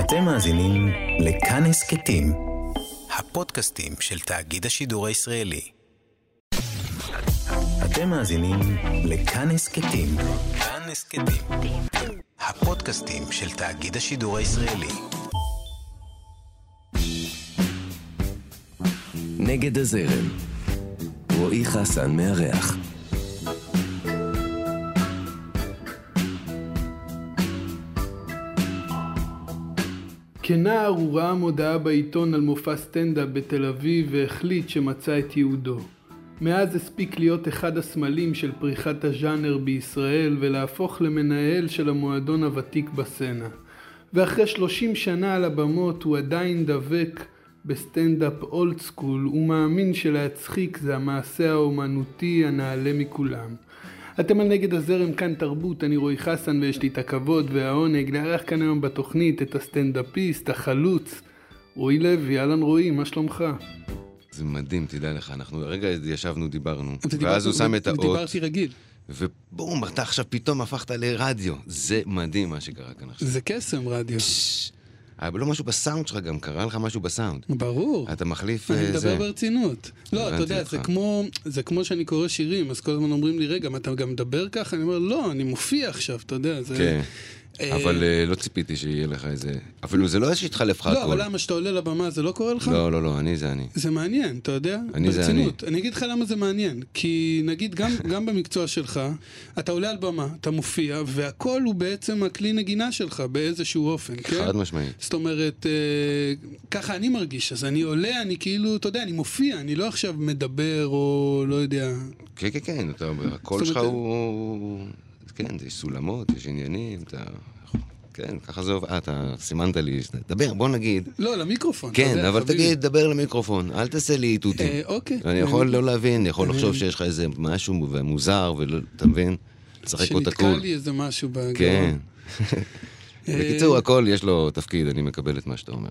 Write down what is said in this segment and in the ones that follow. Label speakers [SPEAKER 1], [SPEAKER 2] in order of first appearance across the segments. [SPEAKER 1] אתם מאזינים לכאן הסכתים, הפודקאסטים של תאגיד השידור הישראלי. אתם מאזינים לכאן הסכתים, כאן הסכתים, הפודקאסטים של תאגיד השידור הישראלי.
[SPEAKER 2] נגד הזרם. רועי חסן מארח.
[SPEAKER 3] כנער הוא ראה מודעה בעיתון על מופע סטנדאפ בתל אביב והחליט שמצא את ייעודו. מאז הספיק להיות אחד הסמלים של פריחת הז'אנר בישראל ולהפוך למנהל של המועדון הוותיק בסצנה. ואחרי 30 שנה על הבמות הוא עדיין דבק בסטנדאפ אולד סקול ומאמין שלהצחיק זה המעשה האומנותי הנעלה מכולם. אתם על נגד הזרם כאן תרבות, אני רועי חסן ויש לי את הכבוד והעונג לארח כאן היום בתוכנית את הסטנדאפיסט, החלוץ, רועי לוי, אהלן רועי, מה שלומך?
[SPEAKER 4] זה מדהים, תדע לך, אנחנו רגע ישבנו, דיברנו,
[SPEAKER 5] אתה דיברת-
[SPEAKER 4] ואז הוא שם את האות,
[SPEAKER 5] דיברתי רגיל.
[SPEAKER 4] ובום, אתה עכשיו פתאום הפכת לרדיו. זה מדהים מה שקרה כאן עכשיו.
[SPEAKER 5] זה קסם רדיו.
[SPEAKER 4] אבל לא משהו בסאונד שלך גם, קרה לך משהו בסאונד.
[SPEAKER 5] ברור.
[SPEAKER 4] אתה מחליף
[SPEAKER 5] אני
[SPEAKER 4] אה, זה.
[SPEAKER 5] מדבר ברצינות. לא, אתה
[SPEAKER 4] הבנתי
[SPEAKER 5] יודע,
[SPEAKER 4] אותך.
[SPEAKER 5] זה כמו, זה כמו שאני קורא שירים, אז כל הזמן אומרים לי, רגע, מה, אתה גם מדבר ככה? אני אומר, לא, אני מופיע עכשיו, אתה יודע, זה...
[SPEAKER 4] כן,
[SPEAKER 5] אה,
[SPEAKER 4] אבל אה, לא ציפיתי שיהיה לך איזה... אפילו זה לא שהתחלף לך
[SPEAKER 5] לא,
[SPEAKER 4] הכל.
[SPEAKER 5] אבל למה, כשאתה עולה לבמה זה לא קורה לך?
[SPEAKER 4] לא, לא, לא, אני זה אני.
[SPEAKER 5] זה מעניין, אתה יודע?
[SPEAKER 4] אני זה
[SPEAKER 5] ברצינות. אני אגיד לך למה זה מעניין. כי נגיד, גם, גם במקצוע שלך, אתה עולה על במה, אתה מופיע, והכל הוא בעצם הכלי נגינה שלך באיזשהו אופן, כן?
[SPEAKER 4] חד משמעית.
[SPEAKER 5] זאת אומרת, אה, ככה אני מרגיש, אז אני עולה, אני כאילו, אתה יודע, אני מופיע, אני לא עכשיו מדבר או לא יודע.
[SPEAKER 4] כן, כן, כן, אתה- הקול
[SPEAKER 5] אומרת,
[SPEAKER 4] שלך
[SPEAKER 5] אה,
[SPEAKER 4] הוא... כן, יש סולמות, יש עניינים, אתה... כן, ככה זה עובד. אה, אתה סימנת לי, דבר, בוא נגיד.
[SPEAKER 5] לא, למיקרופון. אתה
[SPEAKER 4] כן,
[SPEAKER 5] יודע,
[SPEAKER 4] אבל
[SPEAKER 5] חביבי.
[SPEAKER 4] תגיד, דבר למיקרופון, אל תעשה לי איתותים.
[SPEAKER 5] אה, אוקיי.
[SPEAKER 4] אני יכול לא להבין, אני יכול לחשוב שיש לך איזה משהו מוזר, ולא- אתה מבין? לשחק אותה
[SPEAKER 5] שנתקע
[SPEAKER 4] קול.
[SPEAKER 5] לי איזה משהו בגרון.
[SPEAKER 4] כן.
[SPEAKER 5] אה,
[SPEAKER 4] בקיצור, הכל יש לו תפקיד, אני מקבל את מה שאתה אומר.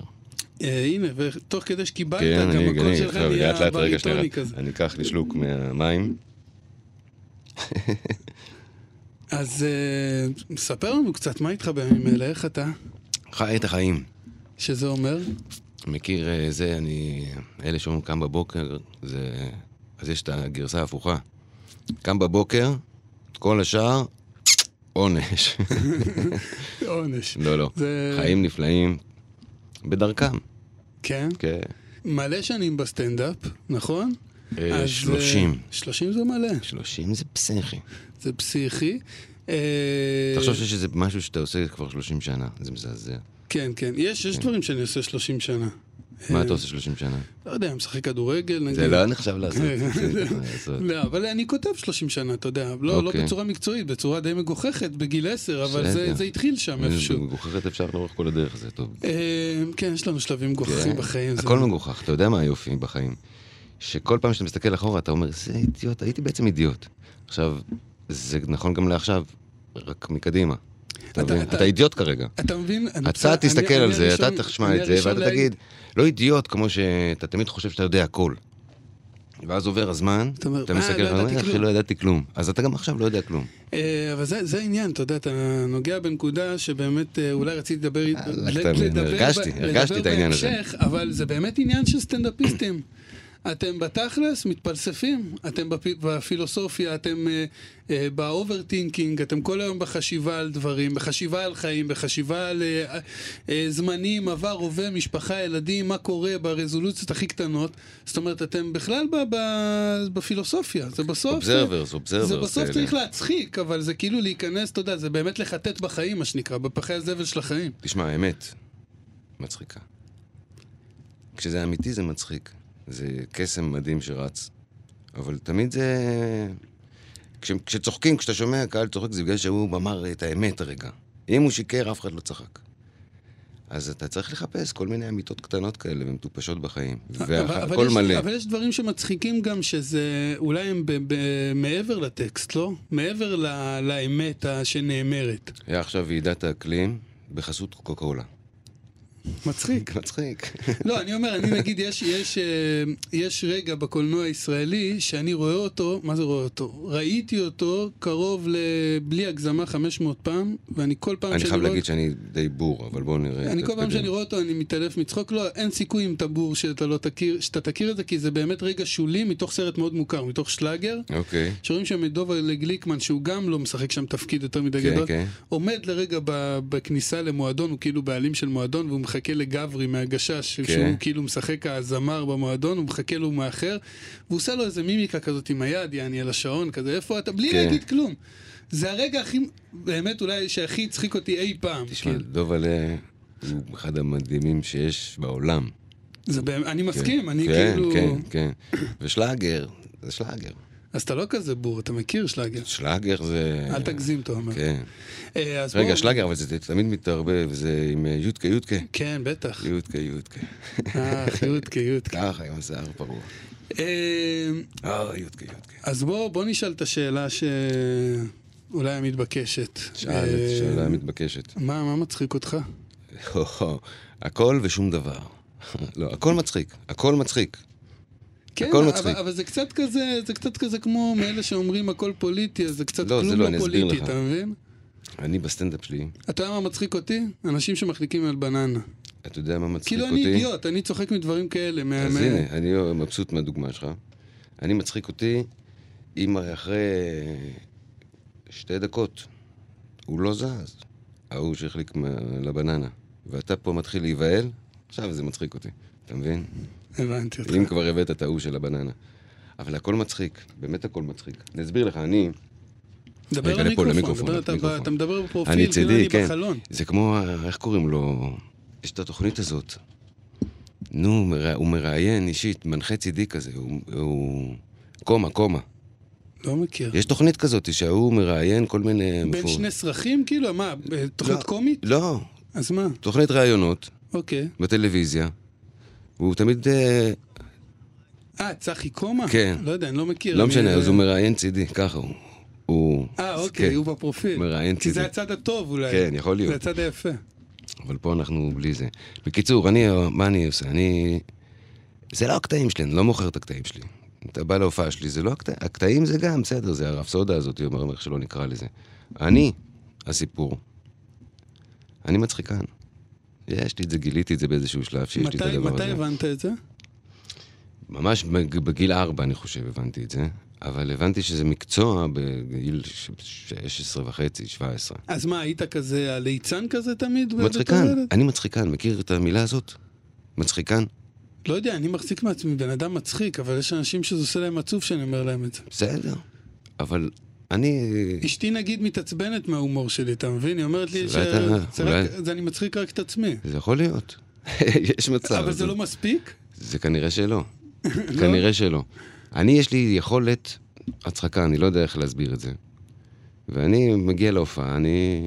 [SPEAKER 5] אה, הנה, ותוך כדי שקיבלת,
[SPEAKER 4] כן,
[SPEAKER 5] גם
[SPEAKER 4] אני,
[SPEAKER 5] הקול
[SPEAKER 4] אני,
[SPEAKER 5] שלך
[SPEAKER 4] עכשיו, לאט
[SPEAKER 5] נהיה
[SPEAKER 4] לאט, רגע, שנייה,
[SPEAKER 5] בריטוני כזה.
[SPEAKER 4] אני אקח לי שלוק מהמים.
[SPEAKER 5] אז אה, ספר לנו קצת, מה איתך בימים אלה? איך אתה?
[SPEAKER 4] חי את החיים.
[SPEAKER 5] שזה אומר?
[SPEAKER 4] מכיר אה, זה, אני... אלה שאומרים קם בבוקר, זה... אז יש את הגרסה ההפוכה. קם בבוקר, כל השאר, עונש.
[SPEAKER 5] עונש.
[SPEAKER 4] לא, לא.
[SPEAKER 5] זה-
[SPEAKER 4] חיים נפלאים בדרכם.
[SPEAKER 5] כן?
[SPEAKER 4] כן.
[SPEAKER 5] מלא שנים בסטנדאפ, נכון?
[SPEAKER 4] אה,
[SPEAKER 5] אז, אה,
[SPEAKER 4] 30.
[SPEAKER 5] 30 זה מלא.
[SPEAKER 4] 30 זה פסיכי.
[SPEAKER 5] זה פסיכי. אה,
[SPEAKER 4] תחשוב שיש איזה משהו שאתה עושה כבר 30 שנה, זה מזעזע.
[SPEAKER 5] כן, כן. יש, יש דברים שאני עושה 30 שנה.
[SPEAKER 4] מה
[SPEAKER 5] אה,
[SPEAKER 4] אתה עושה 30 שנה?
[SPEAKER 5] לא יודע, משחק כדורגל, נגיד.
[SPEAKER 4] זה לא נחשב לעשות.
[SPEAKER 5] כן.
[SPEAKER 4] זה לא לעשות.
[SPEAKER 5] לא, אבל אני כותב 30 שנה, אתה יודע. לא, לא
[SPEAKER 4] אוקיי.
[SPEAKER 5] בצורה מקצועית, בצורה די מגוחכת, בגיל 10, אבל זה,
[SPEAKER 4] בסדר.
[SPEAKER 5] זה התחיל שם
[SPEAKER 4] זה
[SPEAKER 5] איפשהו.
[SPEAKER 4] מגוחכת אפשר לאורך כל הדרך, זה טוב.
[SPEAKER 5] אה, כן, יש לנו שלבים מגוחכים
[SPEAKER 4] כן.
[SPEAKER 5] בחיים. זה- לא-
[SPEAKER 4] הכל מגוחך, אתה יודע מה היופי בחיים? שכל פעם שאתה מסתכל אחורה, אתה אומר, זה אידיוט, הייתי בעצם אידיוט. עכשיו, זה נכון גם לעכשיו, רק מקדימה. אתה
[SPEAKER 5] אתה-
[SPEAKER 4] מבין?
[SPEAKER 5] אתה-
[SPEAKER 4] אתה אידיוט כרגע.
[SPEAKER 5] אתה מבין? אני-
[SPEAKER 4] אתה
[SPEAKER 5] אני-
[SPEAKER 4] תסתכל
[SPEAKER 5] אני
[SPEAKER 4] על זה, אתה
[SPEAKER 5] הראשון-
[SPEAKER 4] תשמע
[SPEAKER 5] אני
[SPEAKER 4] את זה,
[SPEAKER 5] הראשון
[SPEAKER 4] ואתה
[SPEAKER 5] להגיד-
[SPEAKER 4] תגיד, לא אידיוט כמו שאתה תמיד חושב שאתה יודע הכל. ואז עובר הזמן,
[SPEAKER 5] אתה אומר,
[SPEAKER 4] אתה
[SPEAKER 5] "אה,
[SPEAKER 4] מסתכל,
[SPEAKER 5] לא
[SPEAKER 4] ואתה אומר,
[SPEAKER 5] ידעתי
[SPEAKER 4] "אחי,
[SPEAKER 5] כלום."
[SPEAKER 4] לא ידעתי כלום. אז אתה גם עכשיו לא יודע כלום.
[SPEAKER 5] אה, אבל זה, זה העניין, אתה יודע, אתה נוגע בנקודה שבאמת אה, אולי רציתי לדבר,
[SPEAKER 4] יאללה,
[SPEAKER 5] ל-
[SPEAKER 4] אתה מבין, הרגשתי,
[SPEAKER 5] ב-
[SPEAKER 4] הרגשתי
[SPEAKER 5] לדבר
[SPEAKER 4] את העניין הזה.
[SPEAKER 5] בהמשך, אבל זה באמת עניין של סטנדאפיסטים. אתם בתכלס מתפלספים, אתם בפ- בפילוסופיה, אתם אה, אה, באוברטינקינג, אתם כל היום בחשיבה על דברים, בחשיבה על חיים, בחשיבה על אה, אה, זמנים, עבר, הווה, משפחה, ילדים, מה קורה ברזולוציות הכי קטנות. זאת אומרת, אתם בכלל ב- ב- בפילוסופיה, זה בסוף...
[SPEAKER 4] Observers, observers
[SPEAKER 5] זה בסוף
[SPEAKER 4] כאלה.
[SPEAKER 5] צריך להצחיק, אבל זה כאילו להיכנס, אתה יודע, זה באמת לחטט בחיים, מה שנקרא, בפחי הזבל של החיים.
[SPEAKER 4] תשמע, האמת, מצחיקה. כשזה אמיתי זה מצחיק. זה קסם מדהים שרץ. אבל תמיד זה... כש... כשצוחקים, כשאתה שומע קהל צוחק, זה בגלל שהוא אמר את האמת הרגע. אם הוא שיקר, אף אחד לא צחק. אז אתה צריך לחפש כל מיני אמיתות קטנות כאלה ומטופשות בחיים.
[SPEAKER 5] אבל- אבל
[SPEAKER 4] והכל
[SPEAKER 5] יש-
[SPEAKER 4] מלא.
[SPEAKER 5] אבל יש דברים שמצחיקים גם, שזה אולי הם ב- ב- מעבר לטקסט, לא? מעבר ל- לאמת ה- שנאמרת.
[SPEAKER 4] היה עכשיו ועידת האקלים בחסות קוקה קולה.
[SPEAKER 5] מצחיק.
[SPEAKER 4] מצחיק.
[SPEAKER 5] לא, אני אומר, אני נגיד, יש, יש, אה, יש רגע בקולנוע הישראלי שאני רואה אותו, מה זה רואה אותו? ראיתי אותו קרוב ל... בלי הגזמה 500 פעם, ואני כל פעם
[SPEAKER 4] אני
[SPEAKER 5] שאני
[SPEAKER 4] חייב
[SPEAKER 5] רואה...
[SPEAKER 4] להגיד שאני די בור, אבל בואו נראה.
[SPEAKER 5] אני כל פעם
[SPEAKER 4] תתקדם.
[SPEAKER 5] שאני רואה אותו אני מתעלף מצחוק, לא, אין סיכוי עם טבור שאתה לא תכיר, שאתה תכיר את זה, כי זה באמת רגע שולי מתוך סרט מאוד מוכר, מתוך שלאגר,
[SPEAKER 4] אוקיי.
[SPEAKER 5] שרואים שם את דובר גליקמן, שהוא גם לא משחק שם תפקיד יותר מדי
[SPEAKER 4] כן,
[SPEAKER 5] גדול,
[SPEAKER 4] כן.
[SPEAKER 5] עומד לרגע ב- בכניסה למועדון, הוא כאילו בעלים של מועדון, והוא מחכה לגברי מהגשש,
[SPEAKER 4] כן.
[SPEAKER 5] שהוא כאילו משחק הזמר במועדון, הוא מחכה לו מאחר, והוא עושה לו איזה מימיקה כזאת עם היד, יעני על השעון, כזה, איפה אתה? בלי
[SPEAKER 4] כן.
[SPEAKER 5] להגיד כלום. זה הרגע הכי, באמת אולי שהכי הצחיק אותי אי פעם.
[SPEAKER 4] תשמע,
[SPEAKER 5] כאילו.
[SPEAKER 4] דובלה הוא אחד המדהימים שיש בעולם.
[SPEAKER 5] זה באמת, אני מסכים, אני
[SPEAKER 4] כן,
[SPEAKER 5] כאילו...
[SPEAKER 4] כן, כן. ושלאגר, זה שלאגר.
[SPEAKER 5] אז אתה לא כזה בור, אתה מכיר שלאגר.
[SPEAKER 4] שלאגר זה...
[SPEAKER 5] אל תגזים, אתה אומר.
[SPEAKER 4] כן.
[SPEAKER 5] אה, אז
[SPEAKER 4] רגע,
[SPEAKER 5] בואו-
[SPEAKER 4] שלאגר, אבל זה תמיד מתערבב, זה עם אה, יודקה יודקה.
[SPEAKER 5] כן, בטח.
[SPEAKER 4] יודקה יודקה.
[SPEAKER 5] אה, יודקה, יודקה.
[SPEAKER 4] ככה, עם השיער פרוע.
[SPEAKER 5] אה,
[SPEAKER 4] אה, יודקה יודקה.
[SPEAKER 5] אז בוא, בוא נשאל את השאלה שאולי המתבקשת.
[SPEAKER 4] שאל
[SPEAKER 5] אה,
[SPEAKER 4] את השאלה המתבקשת.
[SPEAKER 5] מה, מה מצחיק אותך?
[SPEAKER 4] הכל ושום דבר. לא, הכל מצחיק, הכל מצחיק.
[SPEAKER 5] כן,
[SPEAKER 4] הכל
[SPEAKER 5] אבל-
[SPEAKER 4] מצחיק.
[SPEAKER 5] אבל זה קצת כזה, זה קצת כזה כמו מאלה שאומרים הכל פוליטי, אז זה קצת
[SPEAKER 4] לא, זה
[SPEAKER 5] כלום
[SPEAKER 4] לא,
[SPEAKER 5] לא
[SPEAKER 4] אני אסביר
[SPEAKER 5] פוליטי,
[SPEAKER 4] לך.
[SPEAKER 5] אתה מבין?
[SPEAKER 4] אני בסטנדאפ שלי,
[SPEAKER 5] אתה יודע מה מצחיק אותי? אנשים שמחליקים על בננה.
[SPEAKER 4] אתה יודע מה מצחיק
[SPEAKER 5] כאילו
[SPEAKER 4] אותי?
[SPEAKER 5] אני אידיוט, אני צוחק מדברים כאלה. מה-
[SPEAKER 4] אז
[SPEAKER 5] מה-
[SPEAKER 4] הנה, אני מבסוט מהדוגמה שלך. אני מצחיק אותי אם אחרי שתי דקות הוא לא זז, ההוא שהחליק מה- לבננה, ואתה פה מתחיל להיבהל, עכשיו זה מצחיק אותי, אתה מבין?
[SPEAKER 5] הבנתי אותך.
[SPEAKER 4] אם כבר הבאת את ההוא של הבננה. אבל הכל מצחיק, באמת הכל מצחיק. אני אסביר לך, אני...
[SPEAKER 5] דבר
[SPEAKER 4] רגע, לפה,
[SPEAKER 5] למיקרופון,
[SPEAKER 4] למיקרופון,
[SPEAKER 5] דבר, אתה-
[SPEAKER 4] למיקרופון.
[SPEAKER 5] אתה מדבר בפרופיל,
[SPEAKER 4] אני
[SPEAKER 5] כאילו אני
[SPEAKER 4] צידי, כן.
[SPEAKER 5] בחלון.
[SPEAKER 4] זה כמו, ה- איך קוראים לו? יש את התוכנית הזאת. נו, הוא מרא- הוא מראיין אישית, מנחה צידי כזה, הוא- הוא... קומה, קומה.
[SPEAKER 5] לא מכיר.
[SPEAKER 4] יש תוכנית כזאת שההוא מראיין כל מיני...
[SPEAKER 5] בין
[SPEAKER 4] מפור-
[SPEAKER 5] שני סרחים, כאילו, מה, אה,
[SPEAKER 4] לא,
[SPEAKER 5] תוכנית קומית?
[SPEAKER 4] לא,
[SPEAKER 5] אז מה?
[SPEAKER 4] תוכנית ראיונות
[SPEAKER 5] אוקיי.
[SPEAKER 4] בטלוויזיה. הוא תמיד, אה,
[SPEAKER 5] אה, צחי קומה?
[SPEAKER 4] כן.
[SPEAKER 5] לא יודע, אני לא מכיר.
[SPEAKER 4] לא
[SPEAKER 5] אני-
[SPEAKER 4] משנה, אז הוא מראיין צידי, ככה הוא. הוא...
[SPEAKER 5] אה,
[SPEAKER 4] אז
[SPEAKER 5] אוקיי,
[SPEAKER 4] כן.
[SPEAKER 5] הוא בפרופיל.
[SPEAKER 4] מראיין
[SPEAKER 5] כי זה
[SPEAKER 4] צידי.
[SPEAKER 5] הצד הטוב אולי.
[SPEAKER 4] כן, יכול להיות.
[SPEAKER 5] זה הצד היפה.
[SPEAKER 4] אבל פה אנחנו בלי זה. בקיצור, אני, מה אני עושה? אני... זה לא הקטעים שלי, אני לא מוכר את הקטעים שלי. אתה בא להופעה שלי, זה לא הקטעים, הקטעים זה גם, בסדר, זה הרפסודה הזאת, או מה- איך שלא נקרא לזה. אני הסיפור. אני מצחיקן. יש לי את זה, גיליתי את זה באיזשהו שלב, שיש לי את
[SPEAKER 5] מתי
[SPEAKER 4] הדבר הזה.
[SPEAKER 5] מתי הבנת את זה?
[SPEAKER 4] ממש בג- בגיל ארבע, אני חושב, הבנתי את זה. אבל הבנתי שזה מקצוע בגיל ש- 16 וחצי, 17.
[SPEAKER 5] אז מה, היית כזה הליצן כזה תמיד? בתור
[SPEAKER 4] מצחיקן,
[SPEAKER 5] ילד?
[SPEAKER 4] אני מצחיקן, מכיר את המילה הזאת? מצחיקן?
[SPEAKER 5] לא יודע, אני מחזיק מעצמי בן אדם מצחיק, אבל יש אנשים שזה עושה להם עצוב שאני אומר להם את זה.
[SPEAKER 4] בסדר. אבל אני...
[SPEAKER 5] אשתי נגיד מתעצבנת מההומור שלי, אתה מבין? היא אומרת לי ש...
[SPEAKER 4] אולי אתה-
[SPEAKER 5] זה רק-
[SPEAKER 4] אולי-
[SPEAKER 5] זה אני מצחיק רק את עצמי.
[SPEAKER 4] זה יכול להיות. יש מצב. לא?
[SPEAKER 5] אבל זה לא מספיק?
[SPEAKER 4] זה כנראה שלא. כנראה שלא. אני, יש לי יכולת הצחקה, אני לא יודע איך להסביר את זה. ואני מגיע להופעה, אני...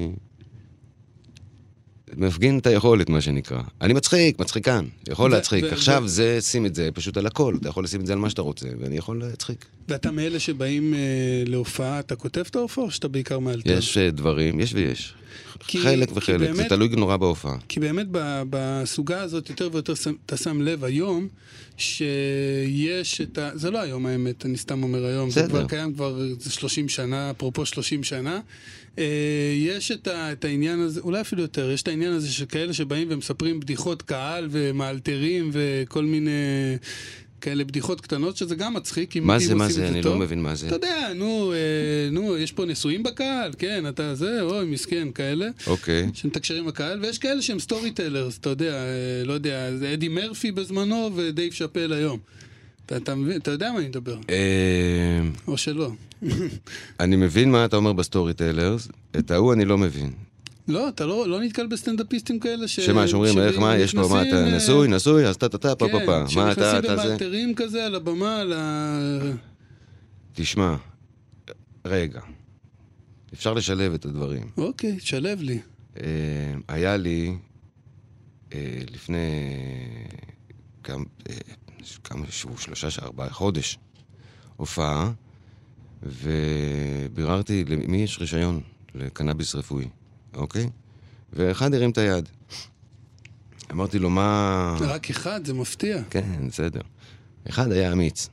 [SPEAKER 4] מפגין את היכולת, מה שנקרא. אני מצחיק, מצחיקן, יכול
[SPEAKER 5] ו-
[SPEAKER 4] להצחיק.
[SPEAKER 5] ו- ו-
[SPEAKER 4] עכשיו זה, שים את זה פשוט על הכל. אתה יכול לשים את זה על מה שאתה רוצה, ואני יכול להצחיק.
[SPEAKER 5] ואתה מאלה שבאים אה, להופעה, אתה כותב את ההופעה או שאתה בעיקר מאלתר?
[SPEAKER 4] יש אה, דברים, יש ויש.
[SPEAKER 5] כי-
[SPEAKER 4] חלק
[SPEAKER 5] כי
[SPEAKER 4] וחלק, זה
[SPEAKER 5] באמת-
[SPEAKER 4] תלוי נורא בהופעה.
[SPEAKER 5] כי באמת ב- בסוגה הזאת יותר ויותר שם- אתה שם לב היום שיש את ה... זה לא היום האמת, אני סתם אומר היום, זה
[SPEAKER 4] בסדר.
[SPEAKER 5] כבר קיים כבר איזה 30 שנה, אפרופו 30 שנה. אה, יש את, ה, את העניין הזה, אולי אפילו יותר, יש את העניין הזה של כאלה שבאים ומספרים בדיחות קהל ומאלתרים וכל מיני כאלה בדיחות קטנות, שזה גם מצחיק, אם
[SPEAKER 4] מה
[SPEAKER 5] אם
[SPEAKER 4] זה, מה
[SPEAKER 5] עושים את
[SPEAKER 4] זה, אני
[SPEAKER 5] טוב.
[SPEAKER 4] לא מבין מה זה.
[SPEAKER 5] אתה יודע, נו, אה, נו, יש פה נשואים בקהל, כן, אתה זה, אוי, מסכן, כאלה.
[SPEAKER 4] אוקיי.
[SPEAKER 5] שמתקשרים עם הקהל, ויש כאלה שהם סטורי טלרס, אתה יודע, אה, לא יודע, זה אדי מרפי בזמנו ודייב שאפל היום. אתה, אתה, מבין, אתה יודע מה אני מדבר,
[SPEAKER 4] אה,
[SPEAKER 5] או שלא.
[SPEAKER 4] אני מבין מה אתה אומר בסטורי טיילרס, את ההוא אני לא מבין.
[SPEAKER 5] לא, אתה לא, לא נתקל בסטנדאפיסטים כאלה ש...
[SPEAKER 4] שמה, שאומרים, איך, מה, יש לו, מה, אתה
[SPEAKER 5] שנכנסים, אה,
[SPEAKER 4] נשוי, נשוי, אז טה טה טה, פה פה פה,
[SPEAKER 5] כן,
[SPEAKER 4] מה אתה,
[SPEAKER 5] שנכנסים
[SPEAKER 4] אתה זה?
[SPEAKER 5] במאלתרים כזה על הבמה, על ה...
[SPEAKER 4] תשמע, רגע, אפשר לשלב את הדברים.
[SPEAKER 5] אוקיי, תשלב לי.
[SPEAKER 4] אה, היה לי אה, לפני כמה, אה, כמה שהוא, שלושה, ש- ארבעה, חודש, הופעה, וביררתי למי יש רישיון לקנאביס רפואי, אוקיי? ואחד הרים את היד. אמרתי לו, מה...
[SPEAKER 5] רק אחד, זה מפתיע.
[SPEAKER 4] כן, בסדר. אחד היה אמיץ.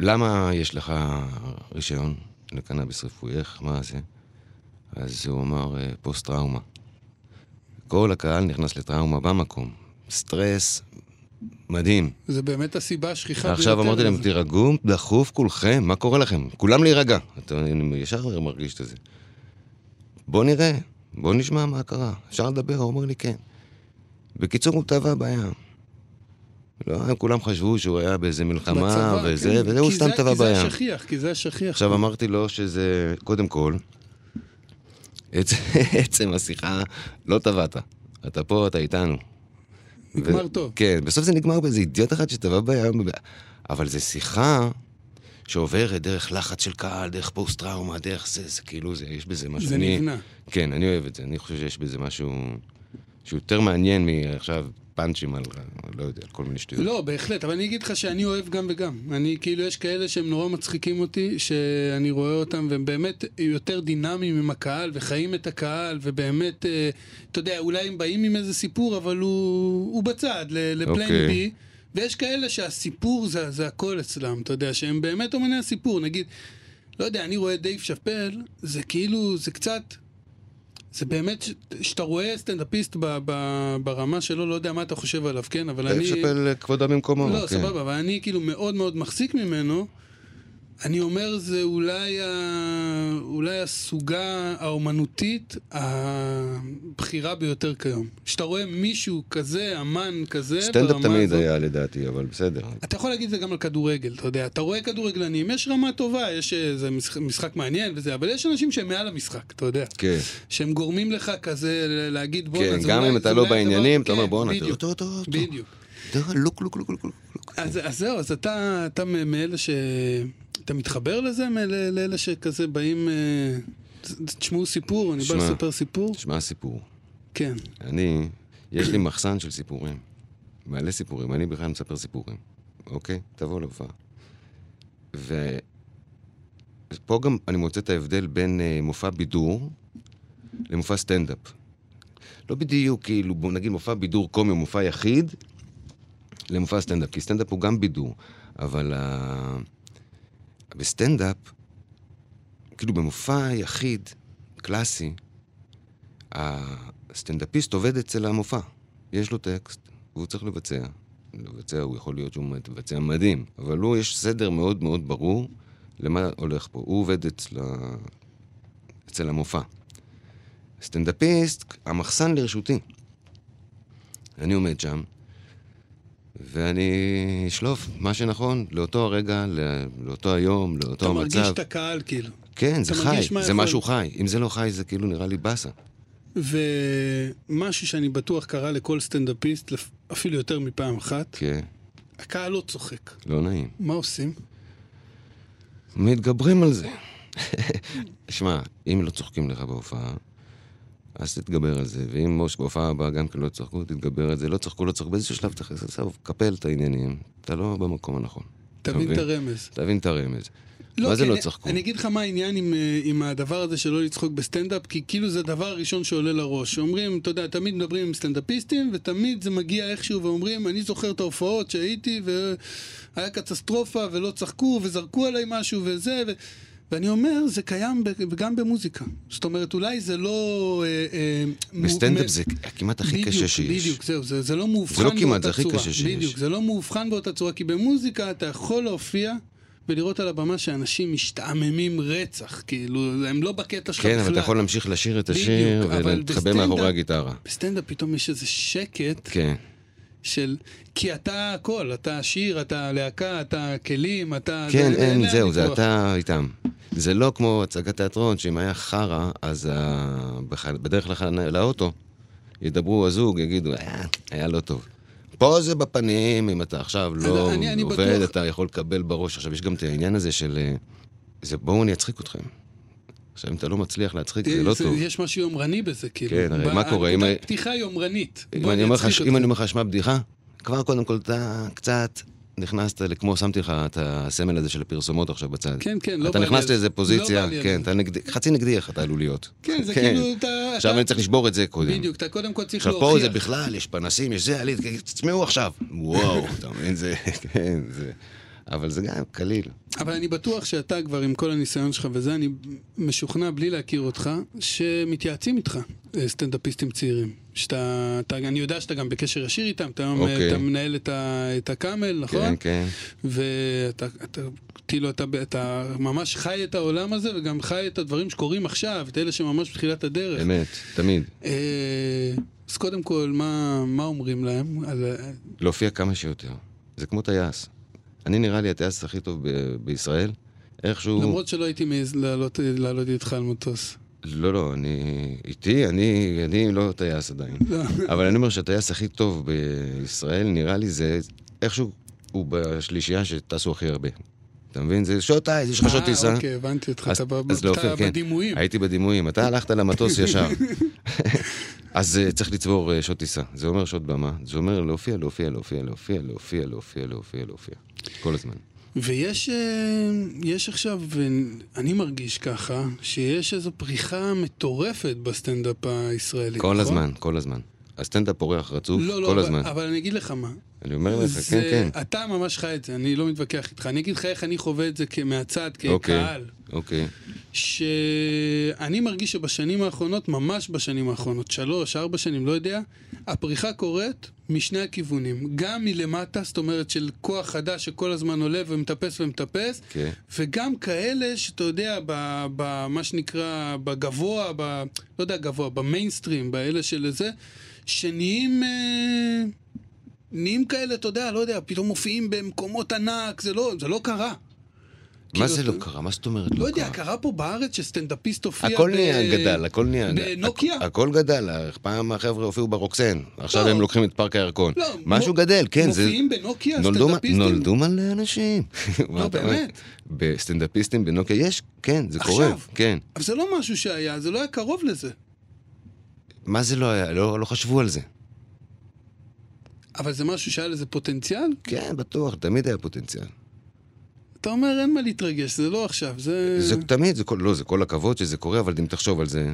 [SPEAKER 4] למה יש לך רישיון לקנאביס רפואי? איך, מה זה? אז הוא אמר, "אה, פוסט-טראומה. כל הקהל נכנס לטראומה במקום. סטרס מדהים.
[SPEAKER 5] זה באמת הסיבה השכיחה
[SPEAKER 4] עכשיו אמרתי להם,
[SPEAKER 5] לזה.
[SPEAKER 4] תירגעו דחוף כולכם, מה קורה לכם? כולם להירגע. אתה אני ישר מרגיש את זה. בוא נראה, בוא נשמע מה קרה. אפשר לדבר? הוא אומר לי כן. בקיצור, הוא טבע בים. לא, הם כולם חשבו שהוא היה באיזה מלחמה
[SPEAKER 5] בצבא,
[SPEAKER 4] וזה,
[SPEAKER 5] כן.
[SPEAKER 4] וזה, הוא
[SPEAKER 5] כי
[SPEAKER 4] סתם
[SPEAKER 5] זה-
[SPEAKER 4] טבע
[SPEAKER 5] כי זה
[SPEAKER 4] בים.
[SPEAKER 5] השכיח, כי זה השכיח.
[SPEAKER 4] עכשיו אמ- אמרתי לו שזה, קודם כל, עצ- עצם השיחה, לא טבעת. אתה פה, אתה איתנו.
[SPEAKER 5] נגמר טוב.
[SPEAKER 4] כן, בסוף זה נגמר באיזה אידיוט אחד שטבע בים. אבל זו שיחה שעוברת דרך לחץ של קהל, דרך פוסט-טראומה, דרך זה, זה כאילו, זה, יש בזה משהו.
[SPEAKER 5] זה
[SPEAKER 4] אני-
[SPEAKER 5] נבנה.
[SPEAKER 4] כן, אני אוהב את זה. אני חושב שיש בזה משהו שהוא יותר מעניין מעכשיו פאנצ'ים על, לא יודע, על כל מיני שטויות.
[SPEAKER 5] לא, בהחלט, אבל אני אגיד לך שאני אוהב גם וגם. אני, כאילו, יש כאלה שהם נורא מצחיקים אותי, שאני רואה אותם, והם באמת יותר דינמיים עם הקהל, וחיים את הקהל, ובאמת, אה, אתה יודע, אולי הם באים עם איזה סיפור, אבל הוא, הוא בצד, ל- לפליין okay.
[SPEAKER 4] אוקיי.
[SPEAKER 5] בי. ויש כאלה שהסיפור זה, זה הכל אצלם, אתה יודע, שהם באמת אומני הסיפור. נגיד, לא יודע, אני רואה דייב שאפל, זה כאילו, זה קצת... זה באמת, ש- שאתה רואה סטנדאפיסט ב, ב, ברמה שלו, לא יודע מה אתה חושב עליו, כן? אבל אני...
[SPEAKER 4] אני... שפל כבודה במקומו.
[SPEAKER 5] לא,
[SPEAKER 4] כן.
[SPEAKER 5] סבבה, אבל אני כאילו מאוד מאוד מחזיק ממנו. אני אומר, זה אולי, ה... אולי הסוגה האומנותית הבכירה ביותר כיום. כשאתה רואה מישהו כזה, אמן כזה,
[SPEAKER 4] סטנדאפ
[SPEAKER 5] ברמה
[SPEAKER 4] תמיד
[SPEAKER 5] הזאת-
[SPEAKER 4] היה לדעתי, אבל בסדר.
[SPEAKER 5] אתה יכול להגיד את זה גם על כדורגל, אתה יודע. אתה רואה כדורגלנים, יש רמה טובה, יש איזה משחק, משחק מעניין וזה, אבל יש אנשים שהם מעל המשחק, אתה יודע.
[SPEAKER 4] כן.
[SPEAKER 5] שהם גורמים לך כזה ל- להגיד בואנה,
[SPEAKER 4] כן,
[SPEAKER 5] זה
[SPEAKER 4] גם
[SPEAKER 5] אולי-
[SPEAKER 4] אם
[SPEAKER 5] זה
[SPEAKER 4] אתה לא
[SPEAKER 5] אולי הדבר-"
[SPEAKER 4] בעניינים, אתה לא-"
[SPEAKER 5] כן,
[SPEAKER 4] אומר בואנה, תראו
[SPEAKER 5] בדיוק,
[SPEAKER 4] אותו, אותו, אותו.
[SPEAKER 5] בדיוק.
[SPEAKER 4] תראה, לוק, לוק, לוק, לוק, לוק.
[SPEAKER 5] אז, אז זהו, אז אתה, אתה מ- מאלה ש... אתה מתחבר לזה? מאלה, לאלה שכזה באים... אה, ת- תשמעו סיפור, אני בא
[SPEAKER 4] שמע.
[SPEAKER 5] לספר סיפור?
[SPEAKER 4] תשמע סיפור.
[SPEAKER 5] כן.
[SPEAKER 4] אני, יש לי מחסן של סיפורים. מלא סיפורים, אני בכלל מספר סיפורים. אוקיי? תבוא להופעה. ו... אז פה גם אני מוצא את ההבדל בין אה, מופע בידור למופע סטנדאפ. לא בדיוק, כאילו, בוא נגיד מופע בידור קומי, מופע יחיד, למופע סטנדאפ, כי סטנדאפ הוא גם בידור, אבל ה... בסטנדאפ, כאילו במופע יחיד, קלאסי, הסטנדאפיסט עובד אצל המופע. יש לו טקסט, והוא צריך לבצע. לבצע, הוא יכול להיות שהוא מבצע מדהים, אבל לו יש סדר מאוד מאוד ברור למה הולך פה. הוא עובד אצל, ה... אצל המופע. סטנדאפיסט, המחסן לרשותי. אני עומד שם, ואני אשלוף מה שנכון לאותו הרגע, לא- לאותו היום, לאותו
[SPEAKER 5] אתה
[SPEAKER 4] המצב.
[SPEAKER 5] מרגיש את הקהל, כאילו.
[SPEAKER 4] כן, זה
[SPEAKER 5] אתה
[SPEAKER 4] חי,
[SPEAKER 5] מרגיש מה
[SPEAKER 4] זה
[SPEAKER 5] יכול.
[SPEAKER 4] משהו חי. אם זה לא חי, זה כאילו נראה לי באסה.
[SPEAKER 5] ומשהו שאני בטוח קרה לכל סטנדאפיסט, לפ- אפילו יותר מפעם אחת,
[SPEAKER 4] כן,
[SPEAKER 5] הקהל לא צוחק.
[SPEAKER 4] לא נעים.
[SPEAKER 5] מה עושים?
[SPEAKER 4] מתגברים על זה. שמע, אם לא צוחקים לך בהופעה, אז תתגבר על זה, ואם ראש בהופעה הבאה גם כן לא צחקו, תתגבר על זה. לא צחקו, לא צחקו, באיזשהו שלב תכניס לסוף, קפל את העניינים. אתה לא במקום הנכון.
[SPEAKER 5] תבין את
[SPEAKER 4] מבין?
[SPEAKER 5] הרמז.
[SPEAKER 4] תבין את הרמז. מה זה
[SPEAKER 5] כי
[SPEAKER 4] לא
[SPEAKER 5] אני-
[SPEAKER 4] צחקו?
[SPEAKER 5] אני אגיד לך מה העניין עם, אה, עם הדבר הזה שלא לצחוק בסטנדאפ, כי כאילו זה הדבר הראשון שעולה לראש. אומרים, אתה יודע, תמיד מדברים עם סטנדאפיסטים, ותמיד זה מגיע איכשהו ואומרים, אני זוכר את ההופעות שהייתי, והיה קטסטרופה, ולא צחקו, וזרקו עליי משהו, וזה, ו... ואני אומר, זה קיים ב- גם במוזיקה. זאת אומרת, אולי זה לא... אה, אה, מ-
[SPEAKER 4] בסטנדאפ
[SPEAKER 5] מ-
[SPEAKER 4] זה כמעט הכי
[SPEAKER 5] בדיוק,
[SPEAKER 4] קשה שיש.
[SPEAKER 5] בדיוק, זהו, זה, זה לא מאובחן
[SPEAKER 4] זה לא
[SPEAKER 5] באותה צורה.
[SPEAKER 4] כמעט, זה הכי קשה שיש.
[SPEAKER 5] בדיוק, זה לא מאובחן באותה צורה, כי במוזיקה אתה יכול להופיע ולראות על הבמה שאנשים משתעממים רצח, כאילו, הם לא בקטע שלך
[SPEAKER 4] כן,
[SPEAKER 5] בכלל.
[SPEAKER 4] אבל אתה יכול להמשיך לשיר את השיר
[SPEAKER 5] בדיוק, אבל
[SPEAKER 4] ולהתחבא
[SPEAKER 5] בסטנדאפ-
[SPEAKER 4] מאחורי הגיטרה.
[SPEAKER 5] בסטנדאפ פתאום יש איזה שקט
[SPEAKER 4] כן.
[SPEAKER 5] של... כי אתה הכל, אתה השיר, אתה הלהקה, אתה הכלים, אתה...
[SPEAKER 4] כן,
[SPEAKER 5] זה-
[SPEAKER 4] אין,
[SPEAKER 5] זה
[SPEAKER 4] זהו, זה
[SPEAKER 5] הוויכוח.
[SPEAKER 4] אתה איתם. זה לא כמו הצגת תיאטרון, שאם היה חרא, אז ה- בח- בדרך לח- לאוטו ידברו הזוג, יגידו, "אה, היה לא טוב. פה זה בפנים, אם אתה עכשיו לא
[SPEAKER 5] אני- אני
[SPEAKER 4] עובד,
[SPEAKER 5] בטוח-
[SPEAKER 4] אתה יכול לקבל בראש. עכשיו, יש גם את העניין הזה של... אה, זה בואו אני אצחיק אתכם. עכשיו, אם אתה לא מצליח להצחיק, זה לא טוב.
[SPEAKER 5] יש משהו יומרני בזה, כאילו.
[SPEAKER 4] כן, הרי
[SPEAKER 5] ב-
[SPEAKER 4] מה קורה אם-
[SPEAKER 5] הנקודת פתיחה יומרנית.
[SPEAKER 4] אם
[SPEAKER 5] בוא
[SPEAKER 4] אני אומר לך-
[SPEAKER 5] אצחיק
[SPEAKER 4] אם
[SPEAKER 5] אותך.
[SPEAKER 4] אני אומר לך, שמע בדיחה, כבר קודם כל אתה קצת נכנסת לכמו, שמתי לך את הסמל הזה של הפרסומות עכשיו בצד.
[SPEAKER 5] כן, כן, לא
[SPEAKER 4] אתה
[SPEAKER 5] בא לי
[SPEAKER 4] נכנס
[SPEAKER 5] על-
[SPEAKER 4] לאיזה
[SPEAKER 5] לא
[SPEAKER 4] פוזיציה,
[SPEAKER 5] בא לי על
[SPEAKER 4] כן,
[SPEAKER 5] זה.
[SPEAKER 4] אתה נגדי, חצי נגדי איך אתה עלול להיות.
[SPEAKER 5] כן, זה כאילו אתה-
[SPEAKER 4] עכשיו
[SPEAKER 5] אתה-
[SPEAKER 4] אני צריך לשבור את זה קודם.
[SPEAKER 5] בדיוק, אתה קודם כל צריך
[SPEAKER 4] עכשיו פה זה
[SPEAKER 5] להוכיח.
[SPEAKER 4] בכלל, יש פנסים, יש זה, עלית, תצמאו עכשיו. וואו, אתה מבין, זה, כן, זה... אבל זה גם קליל.
[SPEAKER 5] אבל אני בטוח שאתה כבר עם כל הניסיון שלך וזה, אני משוכנע בלי להכיר אותך, שמתייעצים איתך אה, סטנדאפיסטים צעירים. שאתה, אתה, אני יודע שאתה גם בקשר ישיר איתם, אתה,
[SPEAKER 4] אוקיי.
[SPEAKER 5] okay. אתה מנהל את, ה, את הקאמל, נכון?
[SPEAKER 4] כן, כן.
[SPEAKER 5] ואתה, אתה, כאילו, אתה, אתה ממש חי את העולם הזה, וגם חי את הדברים שקורים עכשיו, את אלה שממש בתחילת הדרך.
[SPEAKER 4] אמת, תמיד.
[SPEAKER 5] אה, אז קודם כל, מה, מה אומרים להם? על, ה-
[SPEAKER 4] להופיע כמה שיותר. זה כמו טייס. אני נראה לי הטייס הכי טוב ב- בישראל. איכשהו...
[SPEAKER 5] למרות שלא הייתי מעז לעלות, לעלות איתך על מטוס.
[SPEAKER 4] לא, לא, אני... איתי, אני, אני לא טייס עדיין.
[SPEAKER 5] לא.
[SPEAKER 4] אבל אני אומר שהטייס הכי טוב בישראל, נראה לי זה איכשהו הוא בשלישייה שטסו הכי הרבה. אתה מבין? זה שוט אייז, יש לך שוט טיסה.
[SPEAKER 5] אה, אוקיי, הבנתי אותך,
[SPEAKER 4] אז-
[SPEAKER 5] אתה ב-
[SPEAKER 4] אז לאופיר,
[SPEAKER 5] אתה
[SPEAKER 4] כן.
[SPEAKER 5] בדימויים.
[SPEAKER 4] הייתי בדימויים, אתה הלכת למטוס ישר. אז אה, צריך לצבור אה, שעות טיסה. זה אומר שעות במה, זה אומר להופיע, להופיע, להופיע, להופיע, להופיע, להופיע, להופיע, להופיע. כל הזמן.
[SPEAKER 5] נכון. ויש אה, יש עכשיו, אה, אני מרגיש ככה, שיש איזו פריחה מטורפת בסטנדאפ הישראלי.
[SPEAKER 4] כל
[SPEAKER 5] נכון?
[SPEAKER 4] הזמן, כל הזמן. הסטנדאפ אורח רצוף,
[SPEAKER 5] לא, לא,
[SPEAKER 4] כל
[SPEAKER 5] אבל-
[SPEAKER 4] הזמן.
[SPEAKER 5] אבל אני אגיד לך מה.
[SPEAKER 4] אני אומר לך, כן,
[SPEAKER 5] זה-
[SPEAKER 4] כן.
[SPEAKER 5] אתה ממש חי את זה, אני לא מתווכח איתך. אני אגיד לך איך אני חווה את זה כ- מהצד,
[SPEAKER 4] אוקיי,
[SPEAKER 5] כקהל.
[SPEAKER 4] אוקיי.
[SPEAKER 5] שאני מרגיש שבשנים האחרונות, ממש בשנים האחרונות, שלוש, ארבע שנים, לא יודע, הפריחה קורית משני הכיוונים. גם מלמטה, זאת אומרת של כוח חדש שכל הזמן עולה ומטפס ומטפס,
[SPEAKER 4] כן.
[SPEAKER 5] וגם כאלה שאתה יודע, ב- ב- מה שנקרא, בגבוה, ב, לא יודע, גבוה, במיינסטרים, באלה של זה, שנהיים... אה, נהיים כאלה, אתה יודע, לא יודע, פתאום מופיעים במקומות ענק, זה לא, זה לא קרה.
[SPEAKER 4] מה
[SPEAKER 5] כאילו,
[SPEAKER 4] זה
[SPEAKER 5] אתה-
[SPEAKER 4] לא קרה? מה זאת אומרת
[SPEAKER 5] לא
[SPEAKER 4] לא
[SPEAKER 5] יודע,
[SPEAKER 4] קרה?
[SPEAKER 5] קרה פה בארץ שסטנדאפיסט הופיע
[SPEAKER 4] הכל
[SPEAKER 5] ב-
[SPEAKER 4] נהיה גדל, הכל נהיה...
[SPEAKER 5] בנוקיה.
[SPEAKER 4] הכ- הכל גדל, פעם החבר'ה הופיעו ברוקסן, עכשיו
[SPEAKER 5] לא.
[SPEAKER 4] הם לוקחים את פארק הירקון.
[SPEAKER 5] לא,
[SPEAKER 4] משהו
[SPEAKER 5] מו-
[SPEAKER 4] גדל, כן, זה...
[SPEAKER 5] מופיעים בנוקיה,
[SPEAKER 4] נולדו מ-
[SPEAKER 5] סטנדאפיסטים. לא,
[SPEAKER 4] נולדו מלא אנשים. מה אתה אומר?
[SPEAKER 5] באמת.
[SPEAKER 4] בסטנדאפיסטים בנוקיה יש, כן, זה
[SPEAKER 5] עכשיו.
[SPEAKER 4] קורה, כן.
[SPEAKER 5] אבל זה לא משהו שהיה, זה לא היה קרוב לזה.
[SPEAKER 4] מה זה לא היה? לא לא חשבו על זה.
[SPEAKER 5] אבל זה משהו שהיה לזה פוטנציאל?
[SPEAKER 4] כן, בטוח, תמיד היה פוטנציאל.
[SPEAKER 5] אתה אומר, אין מה להתרגש, זה לא עכשיו, זה...
[SPEAKER 4] זה תמיד, זה כל, לא, זה כל הכבוד שזה קורה, אבל אם תחשוב על זה,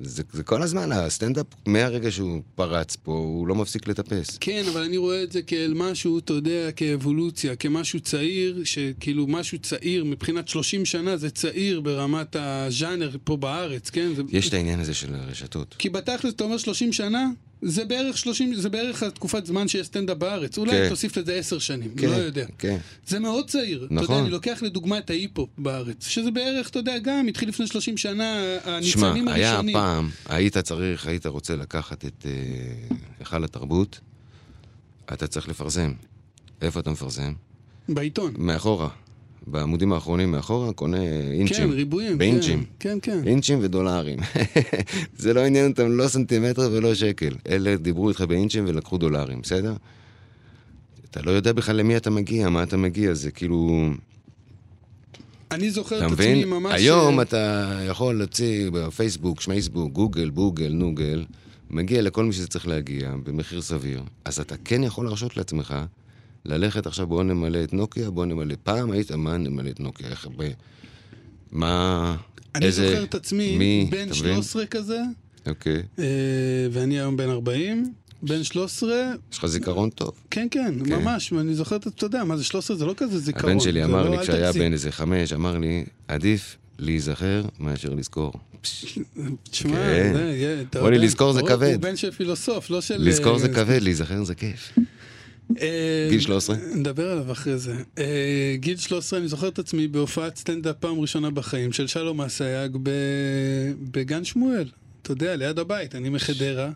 [SPEAKER 4] זה, זה כל הזמן, הסטנדאפ, מהרגע שהוא פרץ פה, הוא לא מפסיק לטפס.
[SPEAKER 5] כן, אבל אני רואה את זה כאל משהו, אתה יודע, כאבולוציה, כמשהו צעיר, שכאילו משהו צעיר, מבחינת 30 שנה זה צעיר ברמת הז'אנר פה בארץ, כן? זה...
[SPEAKER 4] יש את העניין הזה של הרשתות.
[SPEAKER 5] כי בתכלס אתה אומר 30 שנה, זה בערך 30, זה בערך התקופת זמן שיש סטנדאפ בארץ. אולי
[SPEAKER 4] כן.
[SPEAKER 5] תוסיף לזה 10 שנים,
[SPEAKER 4] כן,
[SPEAKER 5] לא יודע.
[SPEAKER 4] כן.
[SPEAKER 5] זה מאוד צעיר. אתה
[SPEAKER 4] נכון.
[SPEAKER 5] יודע, אני לוקח לדוגמה את ההיפ-הופ בארץ, שזה בערך, אתה יודע, גם התחיל לפני 30 שנה,
[SPEAKER 4] שמע,
[SPEAKER 5] הניצנים
[SPEAKER 4] היה
[SPEAKER 5] הראשונים.
[SPEAKER 4] פעם, היית צריך, היית רוצה לקחת את אה, היכל התרבות, אתה צריך לפרסם. איפה אתה מפרסם?
[SPEAKER 5] בעיתון.
[SPEAKER 4] מאחורה. בעמודים האחרונים מאחורה, קונה
[SPEAKER 5] כן,
[SPEAKER 4] אינצ'ים.
[SPEAKER 5] ריבועים.
[SPEAKER 4] באינצ'ים.
[SPEAKER 5] כן, כן. כן.
[SPEAKER 4] אינצ'ים ודולרים. זה לא עניין אותם לא סנטימטר ולא שקל. אלה דיברו איתך באינצ'ים ולקחו דולרים, בסדר? אתה לא יודע בכלל למי אתה מגיע, מה אתה מגיע, זה כאילו...
[SPEAKER 5] אני זוכר
[SPEAKER 4] אתה
[SPEAKER 5] את עצמי
[SPEAKER 4] מבין?
[SPEAKER 5] ממש...
[SPEAKER 4] היום
[SPEAKER 5] אה,
[SPEAKER 4] אתה יכול להוציא בפייסבוק, שמייסבוק, גוגל, בוגל, נוגל, מגיע לכל מי שזה צריך להגיע, במחיר סביר. אז אתה כן יכול להרשות לעצמך ללכת עכשיו, בוא נמלא את נוקיה, בוא נמלא... פעם היית, מה נמלא את נוקיה? איך... ב... מה...
[SPEAKER 5] אני
[SPEAKER 4] איזה...
[SPEAKER 5] זוכר את עצמי
[SPEAKER 4] מי,
[SPEAKER 5] בן
[SPEAKER 4] אתה מבין?
[SPEAKER 5] 13 כזה,
[SPEAKER 4] אוקיי.
[SPEAKER 5] אה, ואני היום בן 40. בן 13,
[SPEAKER 4] יש לך זיכרון טוב.
[SPEAKER 5] כן, כן,
[SPEAKER 4] כן.
[SPEAKER 5] ממש, ואני זוכר את, אתה יודע, מה זה 13 זה לא כזה זיכרון.
[SPEAKER 4] הבן שלי
[SPEAKER 5] זה
[SPEAKER 4] אמר
[SPEAKER 5] לא-
[SPEAKER 4] לי
[SPEAKER 5] אל
[SPEAKER 4] כשהיה
[SPEAKER 5] תגזים.
[SPEAKER 4] בן איזה חמש, אמר לי, עדיף להיזכר מאשר לזכור.
[SPEAKER 5] תשמע,
[SPEAKER 4] כן.
[SPEAKER 5] זה, יהיה, אתה
[SPEAKER 4] בוא לי
[SPEAKER 5] יודע,
[SPEAKER 4] לזכור זה
[SPEAKER 5] הוא-
[SPEAKER 4] כבד.
[SPEAKER 5] הוא בן של פילוסוף, לא של...
[SPEAKER 4] לזכור זה
[SPEAKER 5] אה,
[SPEAKER 4] כבד, להיזכר זה כיף.
[SPEAKER 5] אה,
[SPEAKER 4] גיל 13?
[SPEAKER 5] נדבר עליו אחרי זה. אה, גיל 13, אני זוכר את עצמי בהופעת סטנדאפ פעם ראשונה בחיים של שלום אסייג ב- בגן שמואל. אתה יודע, ליד הבית, אני מחדרה.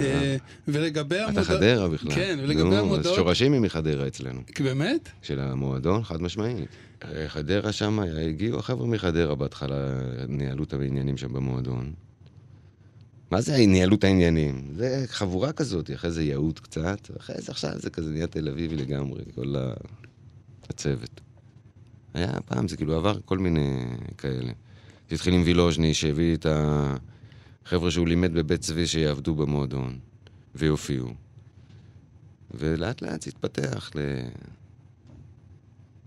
[SPEAKER 5] אה, ולגבי
[SPEAKER 4] אתה
[SPEAKER 5] המודעות...
[SPEAKER 4] חדרה בכלל.
[SPEAKER 5] כן, ולגבי
[SPEAKER 4] נו, אז
[SPEAKER 5] המודעות...
[SPEAKER 4] שורשים היא מחדרה אצלנו,
[SPEAKER 5] באמת?
[SPEAKER 4] של המועדון, חד משמעית. אה, חדרה שם, היה- הגיעו החבר'ה מחדרה בהתחלה, ניהלו את העניינים שם במועדון. מה זה ניהלו את העניינים? זה חבורה כזאת, אחרי זה יהוד קצת, אחרי זה עכשיו זה כזה נהיה תל אביבי לגמרי, כל ה- הצוות. היה פעם, זה כאילו עבר כל מיני כאלה. זה התחיל עם וילוז'ני, שהביא את החבר'ה שהוא לימד בבית צבי שיעבדו במועדון, ויופיעו. ולאט לאט זה התפתח ל...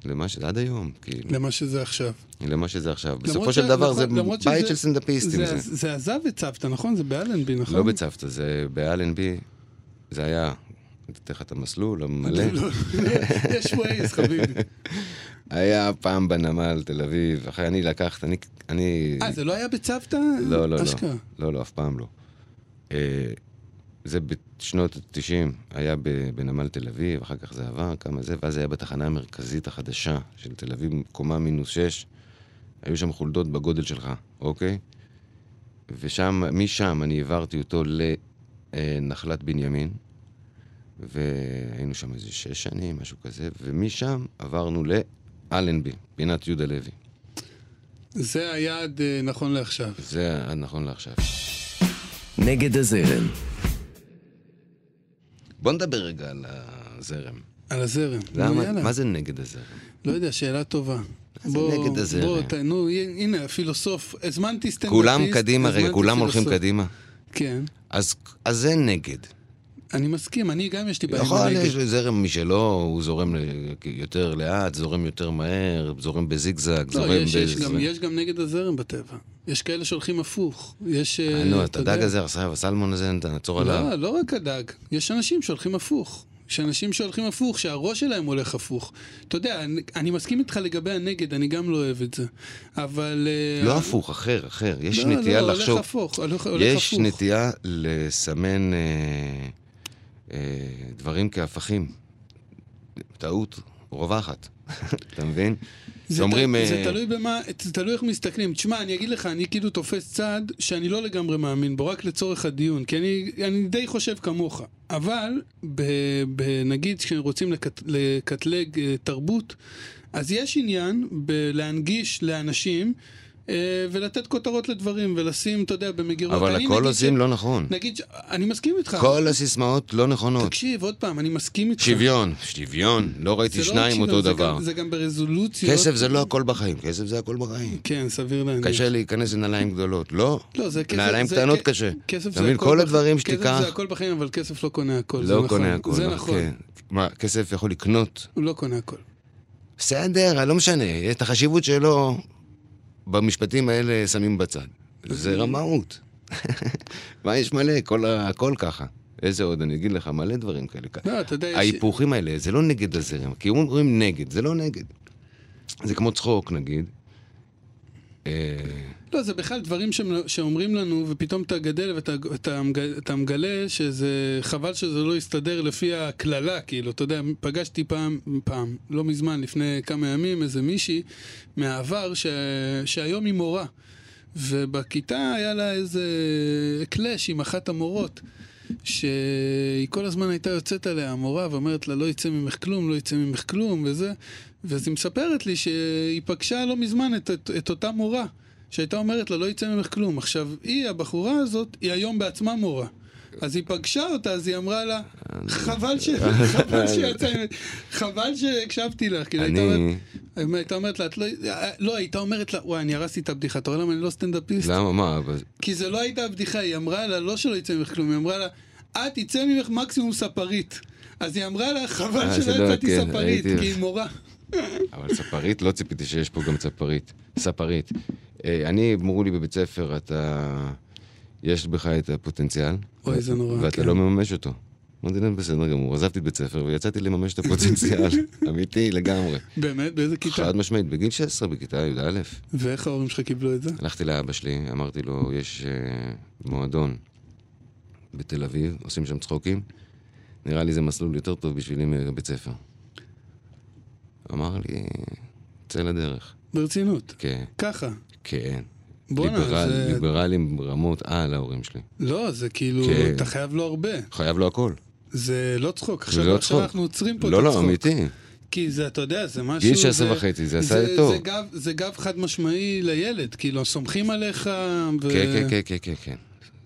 [SPEAKER 4] למה שזה עד היום, כאילו,
[SPEAKER 5] למה שזה עכשיו.
[SPEAKER 4] למה שזה עכשיו.
[SPEAKER 5] למרות
[SPEAKER 4] בסופו
[SPEAKER 5] ש-
[SPEAKER 4] של דבר זה
[SPEAKER 5] נכון, למרות
[SPEAKER 4] בית
[SPEAKER 5] שזה-
[SPEAKER 4] של סטנדאפיסטים.
[SPEAKER 5] זה-
[SPEAKER 4] זה.
[SPEAKER 5] זה עזב את סבתא, נכון? זה באלנבי, נכון?
[SPEAKER 4] לא בצוותא, זה באלנבי, זה היה, אני אתן לך את המסלול המלא.
[SPEAKER 5] לא, יש ווייז, חביבי.
[SPEAKER 4] היה פעם בנמל תל אביב, אחרי אני לקחת, אני... אני...
[SPEAKER 5] אה, זה לא היה בצוותא?
[SPEAKER 4] לא, לא, לא,
[SPEAKER 5] אשכרה.
[SPEAKER 4] לא, לא, אף פעם לא. אה, זה בשנות ה-90, היה ב- בנמל תל אביב, אחר כך זה עבר, כמה זה, ואז זה היה בתחנה המרכזית החדשה של תל אביב, קומה מינוס 6. היו שם חולדות בגודל שלך, אוקיי? ושם, משם אני העברתי אותו לנחלת בנימין, והיינו שם איזה שש שנים, משהו כזה, ומשם עברנו לאלנבי, פינת יהודה לוי.
[SPEAKER 5] זה היעד אה, נכון לעכשיו.
[SPEAKER 4] זה הנכון לעכשיו.
[SPEAKER 2] נגד הזרם,
[SPEAKER 4] בוא נדבר רגע על הזרם.
[SPEAKER 5] על הזרם. נו,
[SPEAKER 4] למה,
[SPEAKER 5] יאללה.
[SPEAKER 4] מה זה נגד הזרם?
[SPEAKER 5] לא יודע, שאלה טובה.
[SPEAKER 4] זה נגד הזרם.
[SPEAKER 5] בוא, ת- נו, הנה, הפילוסוף, הזמנתי סטנדאפיסט.
[SPEAKER 4] כולם קדימה, רגע,
[SPEAKER 5] הזמנתי
[SPEAKER 4] כולם הולכים
[SPEAKER 5] פילוסוף.
[SPEAKER 4] קדימה.
[SPEAKER 5] כן,
[SPEAKER 4] אז, אז זה נגד.
[SPEAKER 5] אני מסכים, אני גם יש לי בעיה. עם
[SPEAKER 4] יכול,
[SPEAKER 5] הנגד. לא,
[SPEAKER 4] יש לו זרם משלו, הוא זורם ל- יותר לאט, זורם יותר מהר, זורם בזיגזג,
[SPEAKER 5] לא,
[SPEAKER 4] זורם
[SPEAKER 5] יש- יש
[SPEAKER 4] בזה.
[SPEAKER 5] גם- יש גם נגד הזרם בטבע. יש כאלה שהולכים הפוך. יש... אה,
[SPEAKER 4] אה, נו, את
[SPEAKER 5] אתה יודע-
[SPEAKER 4] הדג הזה, עכשיו, הסלמון הזה, נעצור עליו.
[SPEAKER 5] לא, לא רק הדג, יש אנשים שהולכים הפוך. יש אנשים שהולכים הפוך, שהראש שלהם הולך הפוך. אתה יודע, אני, אני מסכים איתך לגבי הנגד, אני גם לא אוהב את זה. אבל... אה,
[SPEAKER 4] לא הפוך, אחר, אחר. יש
[SPEAKER 5] לא,
[SPEAKER 4] נטייה
[SPEAKER 5] לא,
[SPEAKER 4] לחשוב.
[SPEAKER 5] הולך הפוך, הולך, הולך
[SPEAKER 4] יש
[SPEAKER 5] הפוך.
[SPEAKER 4] נטייה לסמן אה, אה, דברים כהפכים. טעות רווחת. אתה מבין?
[SPEAKER 5] זה,
[SPEAKER 4] שאומרים,
[SPEAKER 5] ת, זה
[SPEAKER 4] אה,
[SPEAKER 5] תלוי במה, זה תלוי איך מסתכלים. תשמע, אני אגיד לך, אני כאילו תופס צד שאני לא לגמרי מאמין בו, רק לצורך הדיון, כי אני, אני די חושב כמוך. אבל, ב, ב, נגיד, כשרוצים לקט, לקטלג אה, תרבות, אז יש עניין בלהנגיש לאנשים אה, ולתת כותרות לדברים, ולשים, אתה יודע, במגירות.
[SPEAKER 4] אבל
[SPEAKER 5] אני
[SPEAKER 4] הכל
[SPEAKER 5] נגיד
[SPEAKER 4] עושים
[SPEAKER 5] ש-
[SPEAKER 4] לא נכון.
[SPEAKER 5] נגיד, ש- אני מסכים איתך.
[SPEAKER 4] כל הסיסמאות לא נכונות.
[SPEAKER 5] נכון. תקשיב, עוד פעם, אני מסכים איתך.
[SPEAKER 4] שוויון, שוויון, לא
[SPEAKER 5] זה לא
[SPEAKER 4] ראיתי
[SPEAKER 5] רק
[SPEAKER 4] שניים
[SPEAKER 5] שוויון,
[SPEAKER 4] אותו
[SPEAKER 5] זה
[SPEAKER 4] דבר.
[SPEAKER 5] גם- זה גם ברזולוציות.
[SPEAKER 4] כסף זה לא הכל בחיים, כסף זה הכל בחיים.
[SPEAKER 5] כן, סביר להניח.
[SPEAKER 4] קשה להיכנס לנעליים גדולות, לא?
[SPEAKER 5] לא, זה כסף.
[SPEAKER 4] נעליים
[SPEAKER 5] זה
[SPEAKER 4] קטנות
[SPEAKER 5] כ-
[SPEAKER 4] קשה.
[SPEAKER 5] כסף
[SPEAKER 4] אתה
[SPEAKER 5] זה
[SPEAKER 4] מבין?
[SPEAKER 5] הכל
[SPEAKER 4] כל
[SPEAKER 5] בח-
[SPEAKER 4] הדברים
[SPEAKER 5] כסף
[SPEAKER 4] שתיקח,
[SPEAKER 5] זה הכל בחיים, אבל כסף לא קונה הכל. זה
[SPEAKER 4] לא
[SPEAKER 5] נכון.
[SPEAKER 4] קונה הכל.
[SPEAKER 5] זה
[SPEAKER 4] אבל
[SPEAKER 5] נכון.
[SPEAKER 4] כן. מה, כסף יכול לקנות?
[SPEAKER 5] הוא לא קונה הכל.
[SPEAKER 4] בסדר, לא משנה, את החשיבות שלו במשפטים האלה שמים בצד. זה רמאות. מה יש מלא? כל ה- הכל ככה. איזה עוד? אני אגיד לך מלא דברים כאלה.
[SPEAKER 5] לא, אתה יודע, יש-
[SPEAKER 4] ההיפוכים האלה, זה לא נגד הזרם, כי הם אומרים נגד, זה לא נגד. זה כמו צחוק, נגיד. אה,
[SPEAKER 5] לא, זה בכלל דברים שהם- שאומרים לנו, ופתאום אתה גדל ואתה אתה מג- אתה מגלה שזה... חבל שזה לא יסתדר לפי הקללה, כאילו, אתה יודע, פגשתי פעם, פעם, לא מזמן, לפני כמה ימים, איזה מישהי מהעבר, ש- שהיום היא מורה. ובכיתה היה לה איזה קלאש עם אחת המורות, שהיא כל הזמן הייתה יוצאת עליה, המורה, ואומרת לה, לא יצא ממך כלום, לא יצא ממך כלום, וזה. ואז היא מספרת לי שהיא פגשה לא מזמן את, את, את אותה מורה, שהייתה אומרת לה, לא יצא ממך כלום. עכשיו, היא, הבחורה הזאת, היא היום בעצמה מורה. אז היא פגשה אותה, אז היא אמרה לה, חבל ש... חבל שיצא ממך, חבל שהקשבתי לך, כאילו, הייתה אומרת,
[SPEAKER 4] אני...
[SPEAKER 5] הייתה אומרת לה, את לא, לא, הייתה אומרת לה, וואי, אני הרסתי את הבדיחה, אתה רואה למה אני לא סטנדאפיסט?
[SPEAKER 4] למה, מה? אבל-
[SPEAKER 5] כי זה לא הייתה הבדיחה, היא אמרה לה, לא שלא יצא ממך כלום, היא אמרה לה, את יצא ממך מקסימום ספרית. אז היא אמרה לה, חבל
[SPEAKER 4] אה,
[SPEAKER 5] שלא
[SPEAKER 4] שלא,
[SPEAKER 5] יצאתי
[SPEAKER 4] כן,
[SPEAKER 5] ספרית,
[SPEAKER 4] ראיתי.
[SPEAKER 5] כי היא מורה.
[SPEAKER 4] אבל ספרית, לא ציפיתי שיש פה גם צפרית. ספרית. אה, אני, אמרו לי בבית ספר, אתה... יש בך את הפוטנציאל.
[SPEAKER 5] אוי, זה נורא,
[SPEAKER 4] ואתה
[SPEAKER 5] כן.
[SPEAKER 4] לא מממש אותו. אמרתי להם, בסדר גמור, עזבתי את בית ספר ויצאתי לממש את הפוטנציאל. אמיתי לגמרי.
[SPEAKER 5] באמת? באיזה כיתה?
[SPEAKER 4] חד משמעית, בגיל 16, בכיתה י"א.
[SPEAKER 5] ואיך ההורים שלך קיבלו את זה?
[SPEAKER 4] הלכתי לאבא שלי, אמרתי לו, יש אה, מועדון בתל אביב, עושים שם צחוקים, נראה לי זה מסלול יותר טוב בשבילי מבית ספר. אמר לי, צא לדרך.
[SPEAKER 5] ברצינות.
[SPEAKER 4] כן,
[SPEAKER 5] ככה.
[SPEAKER 4] כן.
[SPEAKER 5] בואנה,
[SPEAKER 4] ליברל,
[SPEAKER 5] זה-
[SPEAKER 4] ליברלים ברמות על ההורים שלי.
[SPEAKER 5] לא, זה כאילו,
[SPEAKER 4] כן.
[SPEAKER 5] אתה חייב לו הרבה.
[SPEAKER 4] חייב לו הכל.
[SPEAKER 5] זה לא צחוק.
[SPEAKER 4] זה
[SPEAKER 5] עכשיו
[SPEAKER 4] לא
[SPEAKER 5] עכשיו
[SPEAKER 4] צחוק.
[SPEAKER 5] אנחנו עוצרים פה את
[SPEAKER 4] לא,
[SPEAKER 5] הצחוק.
[SPEAKER 4] לא, אמיתי.
[SPEAKER 5] כי זה, אתה יודע, זה משהו...
[SPEAKER 4] גיל 16
[SPEAKER 5] זה-
[SPEAKER 4] וחצי, זה עשה לי טוב.
[SPEAKER 5] זה גב, זה גב חד משמעי לילד, כאילו, סומכים עליך, ו...
[SPEAKER 4] כן, כן, כן, כן, כן,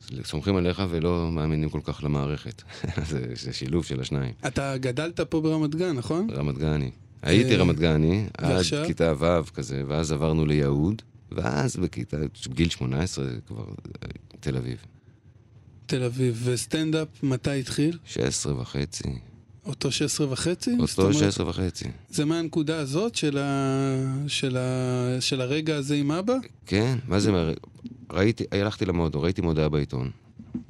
[SPEAKER 4] כן. סומכים עליך ולא מאמינים כל כך למערכת. זה, זה שילוב של השניים.
[SPEAKER 5] אתה גדלת פה ברמת גן, נכון?
[SPEAKER 4] רמת גני. הייתי רמת גני, עד
[SPEAKER 5] אה, ועכשיו?
[SPEAKER 4] כיתה ו' כזה, ואז עברנו ליהוד, ואז בכיתה, בגיל 18 כבר אה, תל אביב.
[SPEAKER 5] תל אביב. וסטנדאפ, מתי התחיל?
[SPEAKER 4] 16 וחצי.
[SPEAKER 5] אותו 16 וחצי? כן, זאת
[SPEAKER 4] אותו
[SPEAKER 5] אומרת,
[SPEAKER 4] 16 וחצי.
[SPEAKER 5] זה מהנקודה הזאת של, ה... של, ה... של הרגע הזה עם אבא?
[SPEAKER 4] כן, מה זה אומר? ראיתי, הלכתי למועדון, ראיתי מודעה בעיתון.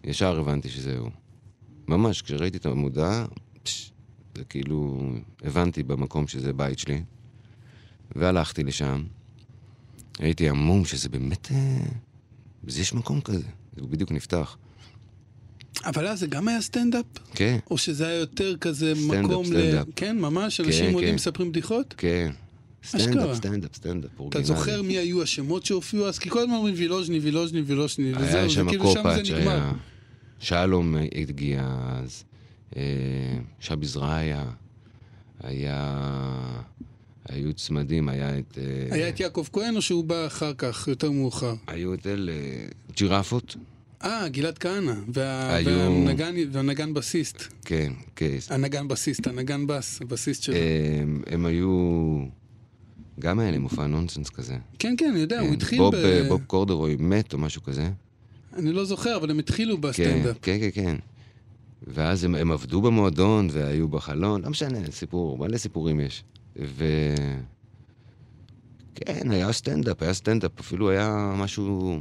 [SPEAKER 4] ישר הבנתי שזה הוא. ממש, כשראיתי את המודעה, פש, זה כאילו, הבנתי במקום שזה בית שלי. והלכתי לשם. הייתי המום שזה באמת... אה, אז יש מקום כזה. הוא בדיוק נפתח.
[SPEAKER 5] אבל אז זה גם היה סטנדאפ?
[SPEAKER 4] כן,
[SPEAKER 5] או שזה היה יותר כזה
[SPEAKER 4] סטנדאפ,
[SPEAKER 5] מקום
[SPEAKER 4] סטנדאפ.
[SPEAKER 5] ל... כן, ממש, אנשים
[SPEAKER 4] כן,
[SPEAKER 5] עולים
[SPEAKER 4] כן.
[SPEAKER 5] מספרים בדיחות?
[SPEAKER 4] כן.
[SPEAKER 5] אשכרה.
[SPEAKER 4] סטנדאפ, סטנדאפ, סטנדאפ,
[SPEAKER 5] אתה
[SPEAKER 4] אורגינלי.
[SPEAKER 5] זוכר מי היו השמות שהופיעו אז? כי כל הזמן אומרים וילוז'ני, וילוז'ני, וילוז'ני,
[SPEAKER 4] היה
[SPEAKER 5] וזהו, זה
[SPEAKER 4] שם
[SPEAKER 5] כאילו שם
[SPEAKER 4] קופאץ'
[SPEAKER 5] זה נגמר.
[SPEAKER 4] היה, שלום הגיע אז, אה, שבי זרעיה, היה, היו צמדים, היה את... אה,
[SPEAKER 5] היה את יעקב כהן או שהוא בא אחר כך, יותר מאוחר?
[SPEAKER 4] היו את אלה, ג'ירפות,
[SPEAKER 5] אה, גלעד כהנא, וה-
[SPEAKER 4] היו-
[SPEAKER 5] והנגן- והנגן בסיסט.
[SPEAKER 4] כן,
[SPEAKER 5] אה,
[SPEAKER 4] קייס.
[SPEAKER 5] הנגן בסיסט, הנגן בס, הבסיסט שלו.
[SPEAKER 4] אה, הם היו, גם היה להם מופע נונסנס כזה.
[SPEAKER 5] כן, כן, אני יודע, הוא
[SPEAKER 4] כן,
[SPEAKER 5] התחיל
[SPEAKER 4] בוב,
[SPEAKER 5] ב...
[SPEAKER 4] אה, בוב קורדרוי מת או משהו כזה.
[SPEAKER 5] אני לא זוכר, אבל הם התחילו
[SPEAKER 4] כן,
[SPEAKER 5] בסטנדאפ.
[SPEAKER 4] כן, כן, כן. ואז הם, הם עבדו במועדון והיו בחלון, לא משנה, סיפור, מלא סיפורים יש. ו... כן, היה סטנדאפ, היה סטנדאפ, אפילו היה משהו...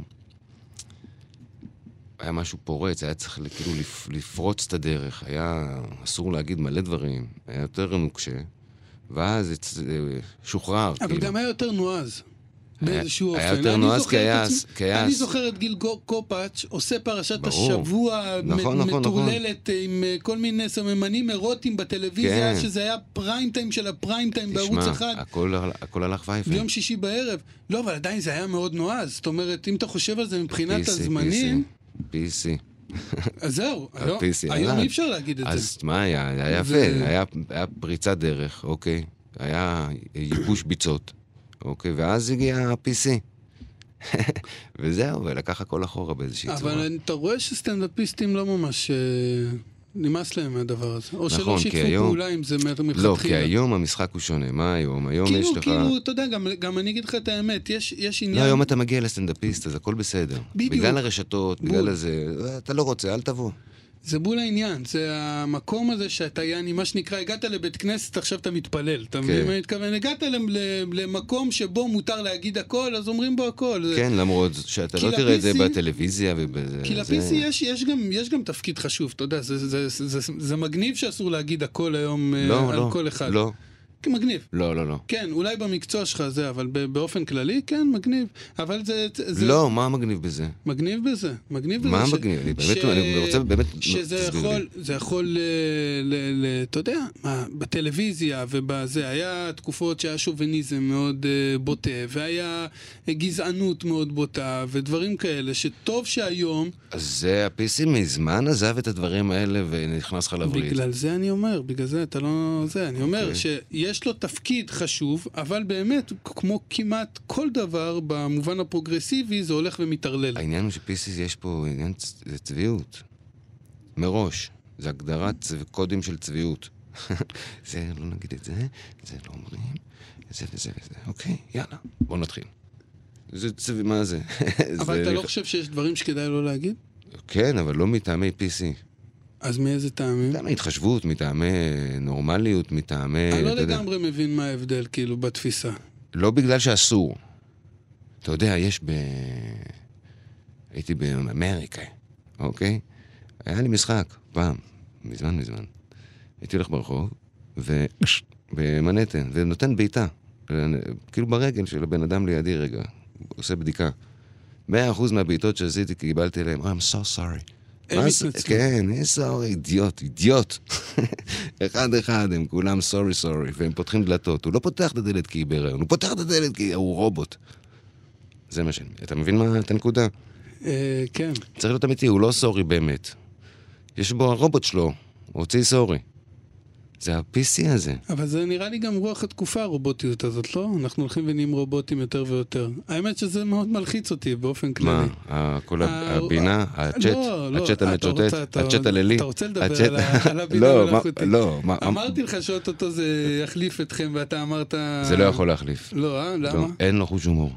[SPEAKER 4] היה משהו פורץ, היה צריך כאילו לפ... לפרוץ את הדרך, היה אסור להגיד מלא דברים, היה יותר נוקשה, ואז הצ... שוחרר, כאילו.
[SPEAKER 5] אבל גם היה יותר נועז. באיזשהו אופן.
[SPEAKER 4] כן. היה יותר
[SPEAKER 5] אני
[SPEAKER 4] נועז,
[SPEAKER 5] זוכר
[SPEAKER 4] כי
[SPEAKER 5] את
[SPEAKER 4] היה-
[SPEAKER 5] עצמי-
[SPEAKER 4] כי היה-
[SPEAKER 5] אני זוכר את גיל גו- קופאץ' עושה פרשת
[SPEAKER 4] ברור.
[SPEAKER 5] השבוע
[SPEAKER 4] נכון,
[SPEAKER 5] מ-
[SPEAKER 4] נכון,
[SPEAKER 5] מטורללת עם אה, כל מיני סממנים אירוטיים בטלוויזיה,
[SPEAKER 4] כן.
[SPEAKER 5] שזה היה פריים טיים של הפריים טיים בערוץ
[SPEAKER 4] תשמע,
[SPEAKER 5] אחד.
[SPEAKER 4] הכל, הכל הלך וייפה.
[SPEAKER 5] ביום שישי בערב. לא, אבל עדיין זה היה מאוד נועז. זאת אומרת, אם אתה חושב על זה מבחינת הזמנים,
[SPEAKER 4] PC.
[SPEAKER 5] אז זהו. לא,
[SPEAKER 4] ה-PC
[SPEAKER 5] היום
[SPEAKER 4] ירד.
[SPEAKER 5] אי אפשר להגיד את זה.
[SPEAKER 4] אה, אז מה היה? היה יפה,
[SPEAKER 5] זה-
[SPEAKER 4] היה- היה פריצת דרך, אוקיי? היה ייבוש ביצות, אוקיי? ואז הגיע ה-PC. וזהו, ולקח הכל אחורה באיזושהי צורה. לא,
[SPEAKER 5] אבל אתה רואה שסטנדאפיסטים לא ממש... אה, נמאס להם מהדבר הזה. או שלא
[SPEAKER 4] נכון, כי
[SPEAKER 5] שיתפו
[SPEAKER 4] היום-
[SPEAKER 5] פעולה עם זה מלכתחילה.
[SPEAKER 4] לא, כי היום המשחק הוא שונה. מה היום? היום יש
[SPEAKER 5] כאילו,
[SPEAKER 4] לך...
[SPEAKER 5] כאילו, אתה יודע, גם, גם אני אגיד לך את האמת, יש, יש
[SPEAKER 4] לא,
[SPEAKER 5] עניין...
[SPEAKER 4] היום אתה מגיע לסטנדאפיסט, אז הכל בסדר.
[SPEAKER 5] בדיוק.
[SPEAKER 4] בגלל הרשתות,
[SPEAKER 5] בול.
[SPEAKER 4] בגלל הזה, אתה לא רוצה, אל תבוא.
[SPEAKER 5] זה בול העניין, זה המקום הזה שאתה, יעני, מה שנקרא, הגעת לבית כנסת, עכשיו אתה מתפלל, אתה מבין
[SPEAKER 4] כן.
[SPEAKER 5] מה אני מתכוון? הגעת למ- ל- למקום שבו מותר להגיד הכל, אז אומרים בו הכל. זה-
[SPEAKER 4] כן, למרות שאתה
[SPEAKER 5] כי
[SPEAKER 4] לא תראה את זה
[SPEAKER 5] ל-PC
[SPEAKER 4] בטלוויזיה ובזה.
[SPEAKER 5] כי
[SPEAKER 4] זה-
[SPEAKER 5] ל-PC יש, יש, גם, יש גם תפקיד חשוב, אתה יודע, זה, זה, זה, זה, זה, זה מגניב שאסור להגיד הכל היום אה,
[SPEAKER 4] לא,
[SPEAKER 5] על
[SPEAKER 4] לא,
[SPEAKER 5] כל אחד.
[SPEAKER 4] לא,
[SPEAKER 5] כי מגניב.
[SPEAKER 4] לא, לא, לא.
[SPEAKER 5] כן, אולי במקצוע שלך זה, אבל ב- באופן כללי, כן, מגניב. אבל זה... זה
[SPEAKER 4] לא, מה מגניב בזה?
[SPEAKER 5] מגניב בזה, מגניב בזה.
[SPEAKER 4] מה
[SPEAKER 5] ש-
[SPEAKER 4] מגניב? אני באמת,
[SPEAKER 5] ש-
[SPEAKER 4] אני רוצה באמת,
[SPEAKER 5] שזה
[SPEAKER 4] תסביר לי.
[SPEAKER 5] יכול, זה יכול, אה, ל- ל- אתה יודע, מה, בטלוויזיה ובזה, היה תקופות שהיה שוביניזם מאוד אה, בוטה, והיה אה, גזענות מאוד בוטה, ודברים כאלה, שטוב שהיום,
[SPEAKER 4] אז זה, ה-PC מזמן עזב את הדברים האלה ונכנס לך לברית.
[SPEAKER 5] בגלל זה אני אומר, בגלל זה אתה לא... זה, אני אומר
[SPEAKER 4] אוקיי.
[SPEAKER 5] שיש לו תפקיד חשוב, אבל באמת, כמו כמעט כל דבר, במובן הפרוגרסיבי, זה הולך ומתערלל.
[SPEAKER 4] העניין הוא ש-PC יש פה עניין, צ- זה צביעות. מראש. זה הגדרת צ- קודים של צביעות. זה, לא נגיד את זה, זה לא אומרים, זה וזה וזה. אוקיי, יאללה, בוא נתחיל. זה צב... מה זה?
[SPEAKER 5] אבל
[SPEAKER 4] זה
[SPEAKER 5] אתה לא
[SPEAKER 4] נכ-
[SPEAKER 5] חושב שיש דברים שכדאי לא להגיד?
[SPEAKER 4] כן, אבל לא מטעמי PC.
[SPEAKER 5] אז מאיזה טעמים?
[SPEAKER 4] מטעמי התחשבות, מטעמי נורמליות, מטעמי...
[SPEAKER 5] אני לא
[SPEAKER 4] אתה יודע.
[SPEAKER 5] לגמרי מבין מה ההבדל, כאילו, בתפיסה.
[SPEAKER 4] לא בגלל שאסור. אתה יודע, יש ב... הייתי באמריקה, אוקיי? היה לי משחק, פעם, מזמן מזמן. הייתי הולך ברחוב, ו... במנהטן, ונותן בעיטה. כאילו ברגל של הבן אדם לידי רגע, עושה בדיקה. 100% מהבעיטות שעשיתי קיבלתי להם, I'm so sorry.
[SPEAKER 5] הם
[SPEAKER 4] מה זה-
[SPEAKER 5] התנצלו.
[SPEAKER 4] כן, yes, sorry, אידיוט, אידיוט. אחד אחד, הם כולם סורי סורי, והם פותחים דלתות. הוא לא פותח את הדלת כי היא בהיריון, הוא פותח את הדלת כי הוא רובוט. זה מה שאני... אתה מבין מה? את הנקודה.
[SPEAKER 5] אה, כן.
[SPEAKER 4] צריך להיות אמיתי, הוא לא סורי באמת. יש בו, הרובוט שלו, הוא הוציא סורי. זה ה-PC הזה.
[SPEAKER 5] אבל זה נראה לי גם רוח התקופה, הרובוטיות הזאת, לא? אנחנו הולכים ונהיים רובוטים יותר ויותר. האמת שזה מאוד מלחיץ אותי באופן כללי.
[SPEAKER 4] מה, ה- כל ה-
[SPEAKER 5] ה-
[SPEAKER 4] הבינה,
[SPEAKER 5] ה-
[SPEAKER 4] הצ'אט,
[SPEAKER 5] לא, לא,
[SPEAKER 4] הצ'אט
[SPEAKER 5] אתה
[SPEAKER 4] המשוטט,
[SPEAKER 5] רוצה- אתה-
[SPEAKER 4] הצ'אט הלילי,
[SPEAKER 5] אתה רוצה לדבר
[SPEAKER 4] הצ'אט-
[SPEAKER 5] על ה- על הבינה
[SPEAKER 4] לא, מה-
[SPEAKER 5] המלאכותית.
[SPEAKER 4] לא, מה-
[SPEAKER 5] אמרתי לך שאו-טו-טו זה יחליף אתכם, ואתה אמרת...
[SPEAKER 4] זה לא יכול להחליף.
[SPEAKER 5] לא, אה?
[SPEAKER 4] לא,
[SPEAKER 5] למה?
[SPEAKER 4] אין לו חוש הומור.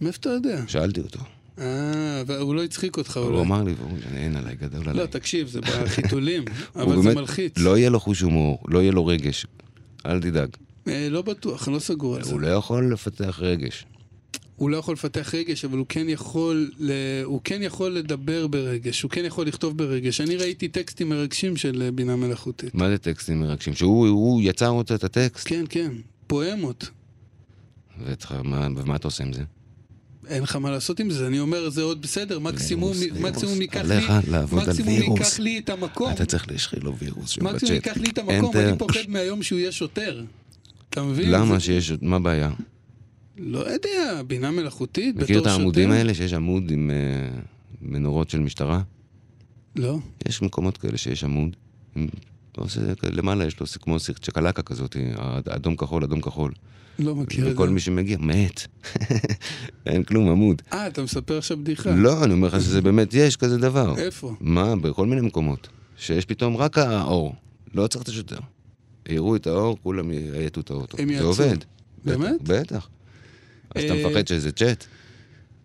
[SPEAKER 5] מאיפה אתה יודע?
[SPEAKER 4] שאלתי אותו.
[SPEAKER 5] אה, והוא לא הצחיק אותך
[SPEAKER 4] הוא
[SPEAKER 5] אולי.
[SPEAKER 4] אמר לי, והוא אין עליי, גדול עליי.
[SPEAKER 5] לא, תקשיב, זה בחיתולים,
[SPEAKER 4] הוא
[SPEAKER 5] אבל זה
[SPEAKER 4] באמת-
[SPEAKER 5] מלחיץ.
[SPEAKER 4] לא יהיה לו חוש הומור, לא יהיה לו רגש. אל תדאג.
[SPEAKER 5] אה, לא בטוח, אני לא סגור על זה.
[SPEAKER 4] הוא לא יכול לפתח רגש.
[SPEAKER 5] הוא לא יכול לפתח רגש, אבל הוא כן יכול, ל... הוא כן יכול לדבר ברגש, הוא כן יכול לכתוב ברגש. אני ראיתי טקסטים מרגשים של אה, בינה מלאכותית.
[SPEAKER 4] מה זה טקסטים מרגשים? שהוא הוא יצר אותו את הטקסט?
[SPEAKER 5] כן, כן, פואמות.
[SPEAKER 4] ואתך, מה- ומה אתה עושה עם זה?
[SPEAKER 5] אין לך מה לעשות עם זה, אני אומר, זה עוד בסדר, מקסימום,
[SPEAKER 4] וירוס, וירוס.
[SPEAKER 5] מקסימום ייקח לי,
[SPEAKER 4] עליך לעבוד על
[SPEAKER 5] מקסימום
[SPEAKER 4] וירוס.
[SPEAKER 5] ייקח לי את המקום,
[SPEAKER 4] אתה צריך להשחיל לו וירוס שם
[SPEAKER 5] מקסימום
[SPEAKER 4] בצ'אט.
[SPEAKER 5] ייקח לי את המקום, אני
[SPEAKER 4] Enter.
[SPEAKER 5] פוחד מהיום שהוא יהיה שוטר. אתה מבין?
[SPEAKER 4] למה
[SPEAKER 5] זה-
[SPEAKER 4] שיש, מה הבעיה?
[SPEAKER 5] לא יודע, בינה מלאכותית, בתור
[SPEAKER 4] מכיר
[SPEAKER 5] שוטר.
[SPEAKER 4] את העמודים האלה שיש עמוד עם אה, מנורות של משטרה?
[SPEAKER 5] לא.
[SPEAKER 4] יש מקומות כאלה שיש עמוד. עם- אתה עושה, כ- למעלה יש לו ס- כמו סיר- צ'קלקה כזאת, אה, אדום כחול, אדום כחול.
[SPEAKER 5] לא מכיר את זה.
[SPEAKER 4] וכל מי שמגיע מת. אין כלום, עמוד.
[SPEAKER 5] אה, אתה מספר עכשיו בדיחה.
[SPEAKER 4] לא, אני אומר לך שזה באמת, יש כזה דבר.
[SPEAKER 5] איפה?
[SPEAKER 4] מה, בכל מיני מקומות. שיש פתאום רק האור. לא צריך את השוטר. יראו את האור, כולם יעטו את האוטו.
[SPEAKER 5] הם
[SPEAKER 4] זה
[SPEAKER 5] יעצרו.
[SPEAKER 4] עובד.
[SPEAKER 5] באמת?
[SPEAKER 4] בטח, בטח. אז אתה
[SPEAKER 5] אה,
[SPEAKER 4] מפחד שזה צ'אט?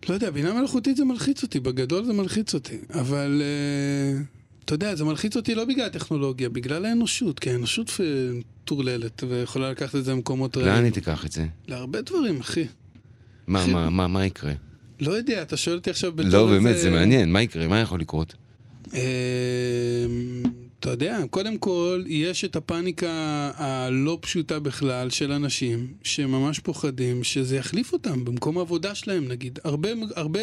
[SPEAKER 5] לא יודע, בינה מלאכותית זה מלחיץ אותי, בגדול זה מלחיץ אותי. אבל אה, אתה יודע, זה מלחיץ אותי לא בגלל הטכנולוגיה, בגלל האנושות, כי האנושות אה, מטורללת ויכולה לקחת את זה למקומות
[SPEAKER 4] לאן
[SPEAKER 5] רעים.
[SPEAKER 4] היא תיקח את זה?
[SPEAKER 5] להרבה דברים, אחי.
[SPEAKER 4] מה, מה, מה, מה יקרה?
[SPEAKER 5] לא יודע, אתה שואל אותי עכשיו בתור
[SPEAKER 4] לא, באמת,
[SPEAKER 5] איזה-
[SPEAKER 4] זה מעניין, מה יקרה? מה יכול לקרות?
[SPEAKER 5] אה, אמ, אתה יודע, קודם כל, יש את הפאניקה הלא פשוטה בכלל של אנשים שממש פוחדים שזה יחליף אותם במקום העבודה שלהם, נגיד. הרבה, הרבה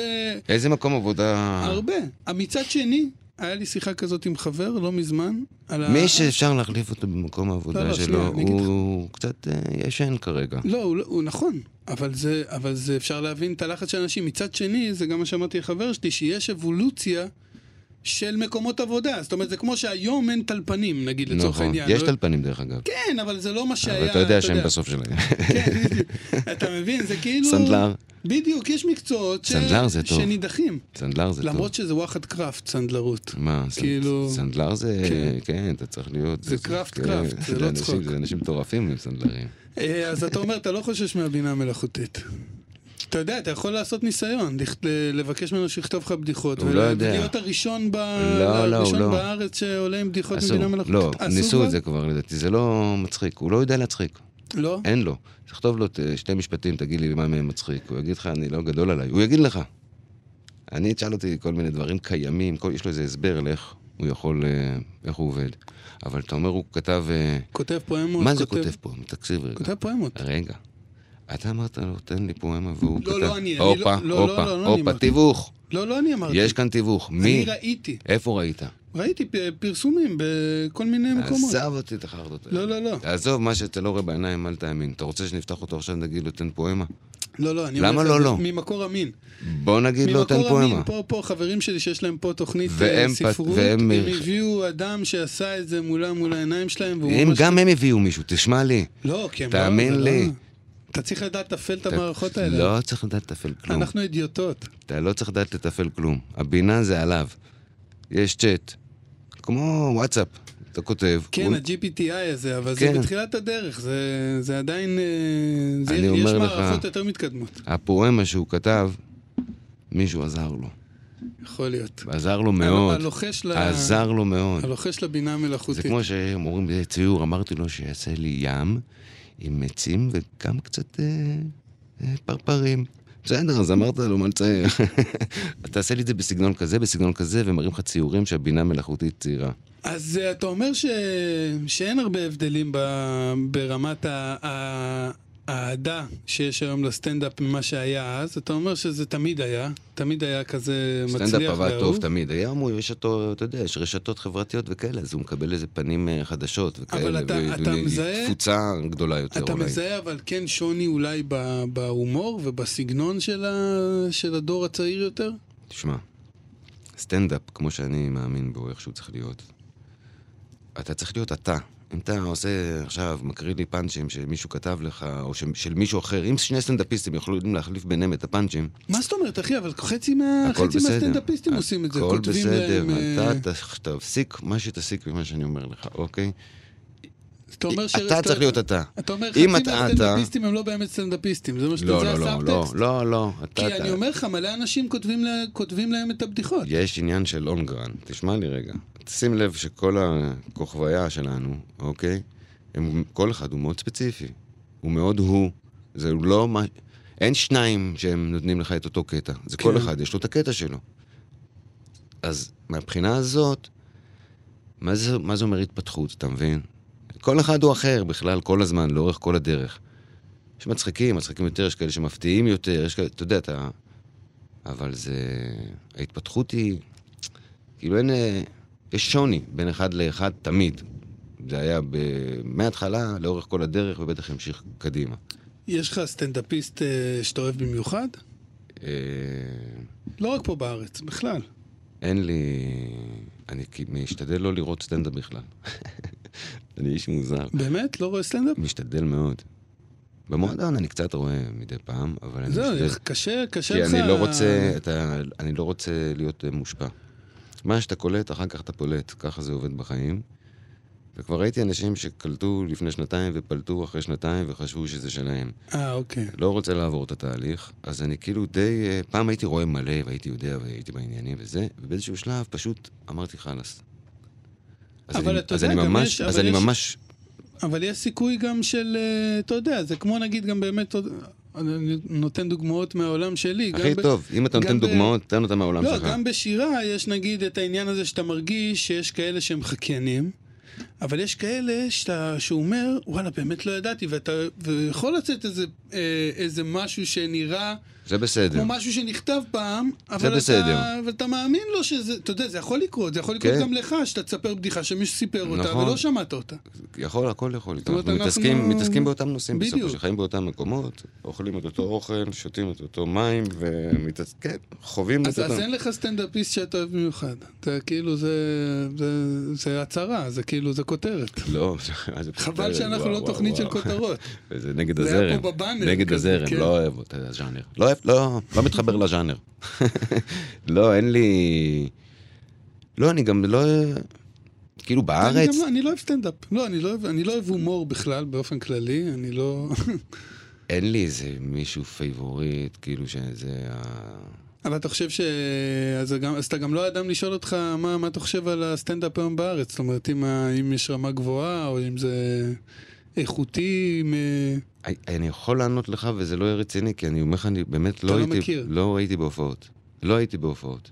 [SPEAKER 4] איזה מקום עבודה...
[SPEAKER 5] הרבה. אה, מצד שני, היה לי שיחה כזאת עם חבר לא מזמן, על ה...
[SPEAKER 4] מי שאפשר להחליף אותו במקום
[SPEAKER 5] לא,
[SPEAKER 4] העבודה
[SPEAKER 5] לא, שנייה,
[SPEAKER 4] שלו,
[SPEAKER 5] אני אגיד
[SPEAKER 4] הוא קצת אה, ישן כרגע.
[SPEAKER 5] לא, הוא, לא- הוא נכון, אבל זה, אבל זה אפשר להבין את הלחץ של אנשים. מצד שני, זה גם מה שאמרתי לחבר שלי, שיש אבולוציה של מקומות עבודה. זאת אומרת, זה כמו שהיום אין טלפנים, נגיד, לצורך
[SPEAKER 4] נכון.
[SPEAKER 5] העניין.
[SPEAKER 4] יש
[SPEAKER 5] לא-
[SPEAKER 4] טלפנים דרך אגב.
[SPEAKER 5] כן, אבל זה לא מה שהיה,
[SPEAKER 4] אבל אתה יודע שהם בסוף שלהם.
[SPEAKER 5] כן, אתה מבין, זה כאילו...
[SPEAKER 4] סנדלר.
[SPEAKER 5] בדיוק, יש מקצועות ש...
[SPEAKER 4] סנדלר זה טוב.
[SPEAKER 5] שנידחים.
[SPEAKER 4] סנדלר זה טוב.
[SPEAKER 5] למרות שזה וואחד קראפט, סנדלרות.
[SPEAKER 4] מה, סנ-
[SPEAKER 5] כאילו-
[SPEAKER 4] סנדלר זה,
[SPEAKER 5] כן.
[SPEAKER 4] כן, אתה צריך להיות.
[SPEAKER 5] זה קראפט,
[SPEAKER 4] כן,
[SPEAKER 5] קראפט, זה לא
[SPEAKER 4] אנשים-
[SPEAKER 5] צחוק.
[SPEAKER 4] זה אנשים מטורפים עם סנדלרים.
[SPEAKER 5] אה, אז אתה אומר, אתה לא חושש מהבינה המלאכותית. אתה יודע, אתה יכול לעשות ניסיון, לכ- ל- לבקש ממנו שיכתוב לך בדיחות.
[SPEAKER 4] הוא
[SPEAKER 5] ול-
[SPEAKER 4] לא יודע.
[SPEAKER 5] ולהיות הראשון ב-
[SPEAKER 4] לא, לא,
[SPEAKER 5] הראשון
[SPEAKER 4] הוא לא.
[SPEAKER 5] בארץ שעולה עם בדיחות
[SPEAKER 4] אסור,
[SPEAKER 5] מבינה מלאכותית.
[SPEAKER 4] לא,
[SPEAKER 5] אסור
[SPEAKER 4] ניסו
[SPEAKER 5] כבר?
[SPEAKER 4] את זה כבר לדעתי, זה לא מצחיק, הוא לא יודע להצחיק,
[SPEAKER 5] לא?
[SPEAKER 4] אין לו. תכתוב לו ת- שתי משפטים, תגיד לי מה מהם מצחיק, הוא יגיד לך, אני לא גדול עליי, הוא יגיד לך. אני, תשאל אותי כל מיני דברים קיימים, כל- יש לו איזה הסבר לאיך הוא יכול, אה, איך הוא עובד. אבל אתה אומר, הוא כתב, אה,
[SPEAKER 5] כותב פואמות.
[SPEAKER 4] מה זה כותב פה? תקשיב רגע.
[SPEAKER 5] כותב פואמות.
[SPEAKER 4] רגע. אתה אמרת לו, תן לי פואמה, והוא
[SPEAKER 5] לא,
[SPEAKER 4] כתב...
[SPEAKER 5] לא, אני- אני לא-
[SPEAKER 4] הופה,
[SPEAKER 5] לא, לא, לא,
[SPEAKER 4] הופה,
[SPEAKER 5] לא, אני
[SPEAKER 4] הופה,
[SPEAKER 5] אמרתי.
[SPEAKER 4] תיווך.
[SPEAKER 5] לא, לא אני אמרתי.
[SPEAKER 4] יש כאן תיווך.
[SPEAKER 5] אני
[SPEAKER 4] מי?
[SPEAKER 5] ראיתי,
[SPEAKER 4] איפה ראית?
[SPEAKER 5] ראיתי פ- פרסומים בכל
[SPEAKER 4] אה,
[SPEAKER 5] מיני מקומות.
[SPEAKER 4] עזב אותי את החרדות האלה.
[SPEAKER 5] לא, לא, לא.
[SPEAKER 4] תעזוב, מה שאתה לא רואה בעיניים, אל תאמין. אתה רוצה שנפתח אותו עכשיו, נגיד לו, תן פואמה?
[SPEAKER 5] לא, לא, אני אומר
[SPEAKER 4] למה
[SPEAKER 5] לך,
[SPEAKER 4] לא,
[SPEAKER 5] זה
[SPEAKER 4] לא?
[SPEAKER 5] ממקור המין.
[SPEAKER 4] בוא נגיד לו, תן
[SPEAKER 5] ממקור המין,
[SPEAKER 4] פואמה.
[SPEAKER 5] פה, פה, חברים שלי שיש להם פה תוכנית אה,
[SPEAKER 4] והם פת-
[SPEAKER 5] ספרות,
[SPEAKER 4] והם-
[SPEAKER 5] הם הביאו אדם שעשה את זה מולם, מול העיניים שלהם, והוא
[SPEAKER 4] אם
[SPEAKER 5] ממש...
[SPEAKER 4] גם הם הביאו מישהו, תשמע לי.
[SPEAKER 5] לא, כי הם לא...
[SPEAKER 4] תאמין
[SPEAKER 5] זה לא-
[SPEAKER 4] לי.
[SPEAKER 5] אתה צריך לדעת לתפעל את
[SPEAKER 4] אתה-
[SPEAKER 5] המערכות האלה.
[SPEAKER 4] לא צריך לדעת לתפעל כלום.
[SPEAKER 5] אנחנו הדיוטות.
[SPEAKER 4] אתה לא צריך לדעת לתפעל כלום. הבינה זה עליו. יש צ'אט. כמו וואטסאפ. אתה כותב.
[SPEAKER 5] כן,
[SPEAKER 4] הוא-
[SPEAKER 5] ה-GPTI הזה, אבל
[SPEAKER 4] כן.
[SPEAKER 5] זה בתחילת הדרך, זה, זה עדיין... אה, זה,
[SPEAKER 4] אני
[SPEAKER 5] יש
[SPEAKER 4] אומר לך-
[SPEAKER 5] מערכות יותר מתקדמות.
[SPEAKER 4] הפואמה שהוא כתב, מישהו עזר לו.
[SPEAKER 5] יכול להיות.
[SPEAKER 4] עזר לו מאוד.
[SPEAKER 5] הלוחש ל-
[SPEAKER 4] עזר לו מאוד.
[SPEAKER 5] הלוחש לבינה
[SPEAKER 4] זה
[SPEAKER 5] המלאכותית.
[SPEAKER 4] כמו שהם אומרים בציור, אמרתי לו שיעשה לי ים עם עצים וגם קצת אה, אה, פרפרים. בסדר, אז אמרת לו מה לצייר. אז תעשה לי את זה בסגנון כזה, בסגנון כזה, ומראים לך ציורים שהבינה מלאכותית ציירה.
[SPEAKER 5] אז אה, אתה אומר ש... שאין הרבה הבדלים ב... ברמת ה... ה... האהדה שיש היום לסטנדאפ ממה שהיה אז, אתה אומר שזה תמיד היה, תמיד היה כזה מצליח ואהוב.
[SPEAKER 4] סטנדאפ עבד טוב תמיד. היום הוא, יש אותו, אתה יודע, יש רשתות חברתיות וכאלה, אז הוא מקבל איזה פנים אה, חדשות וכאלה.
[SPEAKER 5] אתה-
[SPEAKER 4] והוא-
[SPEAKER 5] אתה
[SPEAKER 4] והוא-
[SPEAKER 5] מזהה-
[SPEAKER 4] תפוצה גדולה יותר
[SPEAKER 5] אתה
[SPEAKER 4] אולי.
[SPEAKER 5] מזהה אבל כן שוני אולי ב- בהומור ובסגנון של, ה... של הדור הצעיר יותר?
[SPEAKER 4] תשמע, סטנדאפ, כמו שאני מאמין בו, איך שהוא צריך להיות, אתה צריך להיות אתה. אם אתה עושה עכשיו, מקריא לי פאנצ'ים שמישהו כתב לך, או ש... של מישהו אחר, אם שני סטנדאפיסטים יכולים להחליף ביניהם את הפאנצ'ים,
[SPEAKER 5] מה זאת אומרת אחי, אבל חצי, מה...
[SPEAKER 4] הכל
[SPEAKER 5] אה, חצי
[SPEAKER 4] בסדר.
[SPEAKER 5] מהסטנדאפיסטים עושים את זה,
[SPEAKER 4] הכל
[SPEAKER 5] כותבים
[SPEAKER 4] בסדר,
[SPEAKER 5] להם... אה,
[SPEAKER 4] אתה ת- תפסיק מה שתסיק ממה שאני אומר לך, אוקיי?
[SPEAKER 5] אתה אומר ש...
[SPEAKER 4] אתה צריך להיות אתה.
[SPEAKER 5] אתה אומר, חצי
[SPEAKER 4] אם אתה אתה...
[SPEAKER 5] מהסטנדאפיסטים הם לא באמת סטנדאפיסטים, זה מה שאתה...
[SPEAKER 4] לא,
[SPEAKER 5] זה
[SPEAKER 4] לא, לא, לא,
[SPEAKER 5] הסאבטקסט.
[SPEAKER 4] לא, לא, אתה
[SPEAKER 5] כי
[SPEAKER 4] אתה.
[SPEAKER 5] אני אומר לך, מלא אנשים כותבים לה- כותבים להם את הבדיחות.
[SPEAKER 4] יש עניין של אונגרן, תשמע לי רגע. שים לב שכל הכוכביה שלנו, אוקיי? הם, כל אחד הוא מאוד ספציפי. הוא מאוד הוא. זה לא מה... אין שניים שהם נותנים לך את אותו קטע. זה כל אחד, יש לו את הקטע שלו. אז מהבחינה הזאת, מה זה, מה זה אומר התפתחות, אתה מבין? כל אחד הוא אחר בכלל, כל הזמן, לאורך כל הדרך. יש מצחיקים, מצחיקים יותר, יש כאלה שמפתיעים יותר, יש כאלה, אתה יודע, אתה... אבל זה... ההתפתחות היא... כאילו אין... אה, יש שוני בין אחד לאחד תמיד. זה היה ב... מההתחלה, לאורך כל הדרך, ובטח המשיך קדימה.
[SPEAKER 5] יש לך סטנדאפיסט אה, שאתה אוהב במיוחד?
[SPEAKER 4] אה,
[SPEAKER 5] לא רק פה בארץ, בכלל.
[SPEAKER 4] אין לי... אני כי- משתדל לא לראות סטנדאפ בכלל. אני איש מוזר.
[SPEAKER 5] באמת? לא רואה סטנדאפ?
[SPEAKER 4] משתדל מאוד. במועדון אני קצת רואה מדי פעם, אבל אני
[SPEAKER 5] זהו,
[SPEAKER 4] משתדל...
[SPEAKER 5] קשה, קשה
[SPEAKER 4] כי
[SPEAKER 5] לך...
[SPEAKER 4] אני לא רוצה, אתה, אני לא רוצה להיות אה, מושפע. מה שאתה קולט, אחר כך אתה פולט. ככה זה עובד בחיים. וכבר ראיתי אנשים שקלטו לפני שנתיים ופלטו אחרי שנתיים וחשבו שזה שלהם.
[SPEAKER 5] אה, אוקיי.
[SPEAKER 4] לא רוצה לעבור את התהליך, אז אני כאילו די... אה, פעם הייתי רואה מלא והייתי יודע והייתי בעניינים וזה, ובאיזשהו שלב פשוט אמרתי חלאס. אז
[SPEAKER 5] אבל
[SPEAKER 4] אני-
[SPEAKER 5] אתה
[SPEAKER 4] אז
[SPEAKER 5] יודע,
[SPEAKER 4] אני
[SPEAKER 5] גם
[SPEAKER 4] ממש-
[SPEAKER 5] יש-
[SPEAKER 4] אז
[SPEAKER 5] אבל
[SPEAKER 4] אני
[SPEAKER 5] יש-
[SPEAKER 4] ממש
[SPEAKER 5] אבל יש סיכוי גם של, אה, אתה יודע, זה כמו נגיד גם באמת, אני נותן דוגמאות מהעולם שלי. גם
[SPEAKER 4] הכי
[SPEAKER 5] ב-
[SPEAKER 4] טוב, אם אתה
[SPEAKER 5] גם
[SPEAKER 4] נותן
[SPEAKER 5] ב-
[SPEAKER 4] דוגמאות, תן אותן מהעולם
[SPEAKER 5] לא,
[SPEAKER 4] שלך.
[SPEAKER 5] גם בשירה יש נגיד את העניין הזה שאתה מרגיש שיש כאלה שהם חקיינים, אבל יש כאלה שאתה, שהוא אומר, וואלה, באמת לא ידעתי, ואתה, ויכול לצאת איזה, אה, איזה משהו שנראה
[SPEAKER 4] זה בסדר.
[SPEAKER 5] כמו משהו שנכתב פעם, אבל אתה,
[SPEAKER 4] בסדר.
[SPEAKER 5] אבל אתה מאמין לו שזה, אתה יודע, זה יכול לקרות, זה יכול לקרות
[SPEAKER 4] כן.
[SPEAKER 5] גם לך, שאתה תספר בדיחה שמישהו סיפר אותה
[SPEAKER 4] נכון.
[SPEAKER 5] ולא שמעת אותה.
[SPEAKER 4] יכול, הכל יכול.
[SPEAKER 5] אומרת,
[SPEAKER 4] אנחנו
[SPEAKER 5] אנחנו-
[SPEAKER 4] מתעסקים, מתעסקים באותם נושאים בסופו
[SPEAKER 5] בדיוק.
[SPEAKER 4] של חיים באותם מקומות, אוכלים את אותו אוכל, שותים את אותו מים, ומתעסקים, כן, חווים את
[SPEAKER 5] אז, אז
[SPEAKER 4] אותם.
[SPEAKER 5] אין לך סטנדאפיסט שאתה אוהב במיוחד. אתה כאילו, זה, זה, זה הצהרה, זה כאילו, זה כותרת.
[SPEAKER 4] לא, זה פשוט-
[SPEAKER 5] חבל שאנחנו
[SPEAKER 4] וואו,
[SPEAKER 5] לא
[SPEAKER 4] וואו,
[SPEAKER 5] תוכנית של
[SPEAKER 4] וואו.
[SPEAKER 5] כותרות.
[SPEAKER 4] זה נגד
[SPEAKER 5] זה היה
[SPEAKER 4] הזרם,
[SPEAKER 5] פה בבאנר
[SPEAKER 4] נגד
[SPEAKER 5] כזה,
[SPEAKER 4] הזרם,
[SPEAKER 5] כן.
[SPEAKER 4] לא אוהב את הז'אנר. לא אוהב, לא, לא מתחבר לז'אנר. לא, אין לי... לא, אני גם לא... כאילו
[SPEAKER 5] אני,
[SPEAKER 4] בארץ,
[SPEAKER 5] גם, לא- אני לא אוהב סטנדאפ. לא, אני לא אוהב, אני לא אוהב הומור בכלל, באופן כללי, אני לא...
[SPEAKER 4] אין לי איזה מישהו פייבוריט, כאילו שזה ה...
[SPEAKER 5] אבל אתה חושב ש... אז, גם, אז אתה גם לא האדם לשאול אותך מה, מה אתה חושב על הסטנדאפ היום בארץ. זאת אומרת, אם, ה- אם יש רמה גבוהה, או אם זה איכותי, אם... אה,
[SPEAKER 4] אני יכול לענות לך וזה לא יהיה רציני, כי אני אומר לך, אני באמת לא
[SPEAKER 5] לא
[SPEAKER 4] הייתי,
[SPEAKER 5] מכיר.
[SPEAKER 4] לא הייתי בהופעות. לא הייתי בהופעות.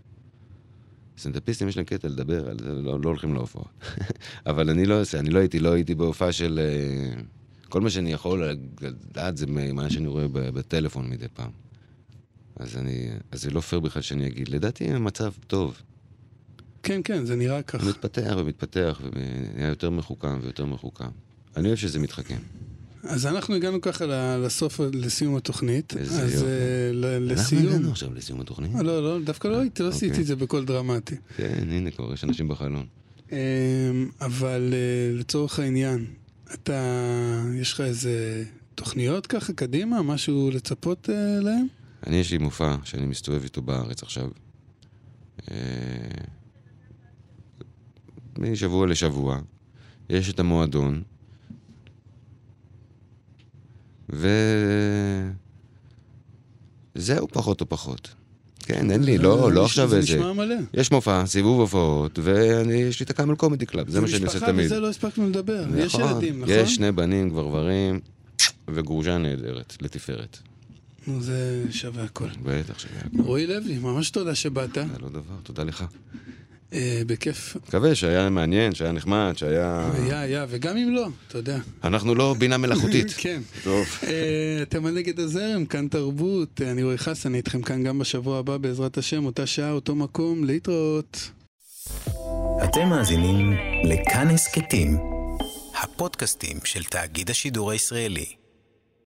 [SPEAKER 4] סטנדאפיסטים יש להם קטע לדבר, על זה, לא, לא הולכים להופעות. אבל אני לא עושה, אני לא הייתי, לא הייתי בהופעה של... אה, כל מה שאני יכול לדעת זה מה שאני רואה ב- בטלפון מדי פעם. אז אני, אז זה לא פייר בכלל שאני אגיד. לדעתי המצב טוב.
[SPEAKER 5] כן, כן, זה נראה
[SPEAKER 4] הוא
[SPEAKER 5] ככה.
[SPEAKER 4] מתפתח ומתפתח ונהיה יותר מחוכם ויותר מחוכם. אני אוהב שזה מתחכם.
[SPEAKER 5] אז אנחנו הגענו ככה ל- לסוף, לסיום התוכנית.
[SPEAKER 4] איזה
[SPEAKER 5] אז
[SPEAKER 4] יופי.
[SPEAKER 5] אה, ל-
[SPEAKER 4] אנחנו
[SPEAKER 5] לסיום.
[SPEAKER 4] הגענו עכשיו לסיום התוכנית.
[SPEAKER 5] אה, לא, לא, דווקא לא הייתי, לא עשיתי
[SPEAKER 4] אוקיי.
[SPEAKER 5] את זה בקול דרמטי.
[SPEAKER 4] כן, הנה כבר יש אנשים בחלון.
[SPEAKER 5] אמ, אבל אה, לצורך העניין, אתה, יש לך איזה תוכניות ככה קדימה, משהו לצפות אה, להם?
[SPEAKER 4] אני, יש לי מופע שאני מסתובב איתו בארץ עכשיו. אה, משבוע לשבוע. יש את המועדון. ו... זהו פחות או פחות. כן, אין לי, לא, לא
[SPEAKER 5] נש-
[SPEAKER 4] עכשיו
[SPEAKER 5] זה
[SPEAKER 4] איזה...
[SPEAKER 5] נשמע מלא.
[SPEAKER 4] יש מופע, סיבוב הופעות, ויש לי את הקאמל קומדי קלאב, זה מה שאני עושה
[SPEAKER 5] משפחה
[SPEAKER 4] תמיד.
[SPEAKER 5] וזה לא הספקנו לדבר. יש
[SPEAKER 4] נכון,
[SPEAKER 5] ילדים, נכון?
[SPEAKER 4] יש שני בנים, גברברים, וגרושה נהדרת, לתפארת.
[SPEAKER 5] נו, זה שווה הכל.
[SPEAKER 4] בטח שהיה
[SPEAKER 5] רועי לוי, ממש תודה שבאת.
[SPEAKER 4] היה לא דבר, תודה לך.
[SPEAKER 5] אה, בכיף.
[SPEAKER 4] מקווה שהיה מעניין, שהיה נחמד, שהיה...
[SPEAKER 5] היה, היה, וגם אם לא, אתה יודע.
[SPEAKER 4] אנחנו לא בינה מלאכותית.
[SPEAKER 5] כן.
[SPEAKER 4] טוב.
[SPEAKER 5] אה, אתם על נגד הזרם, כאן תרבות, אה, אני רועי חסן, אני איתכם כאן גם בשבוע הבא בעזרת השם, אותה שעה, אותו מקום, להתראות.
[SPEAKER 1] אתם מאזינים לכאן הסכתים, הפודקאסטים של תאגיד השידור הישראלי.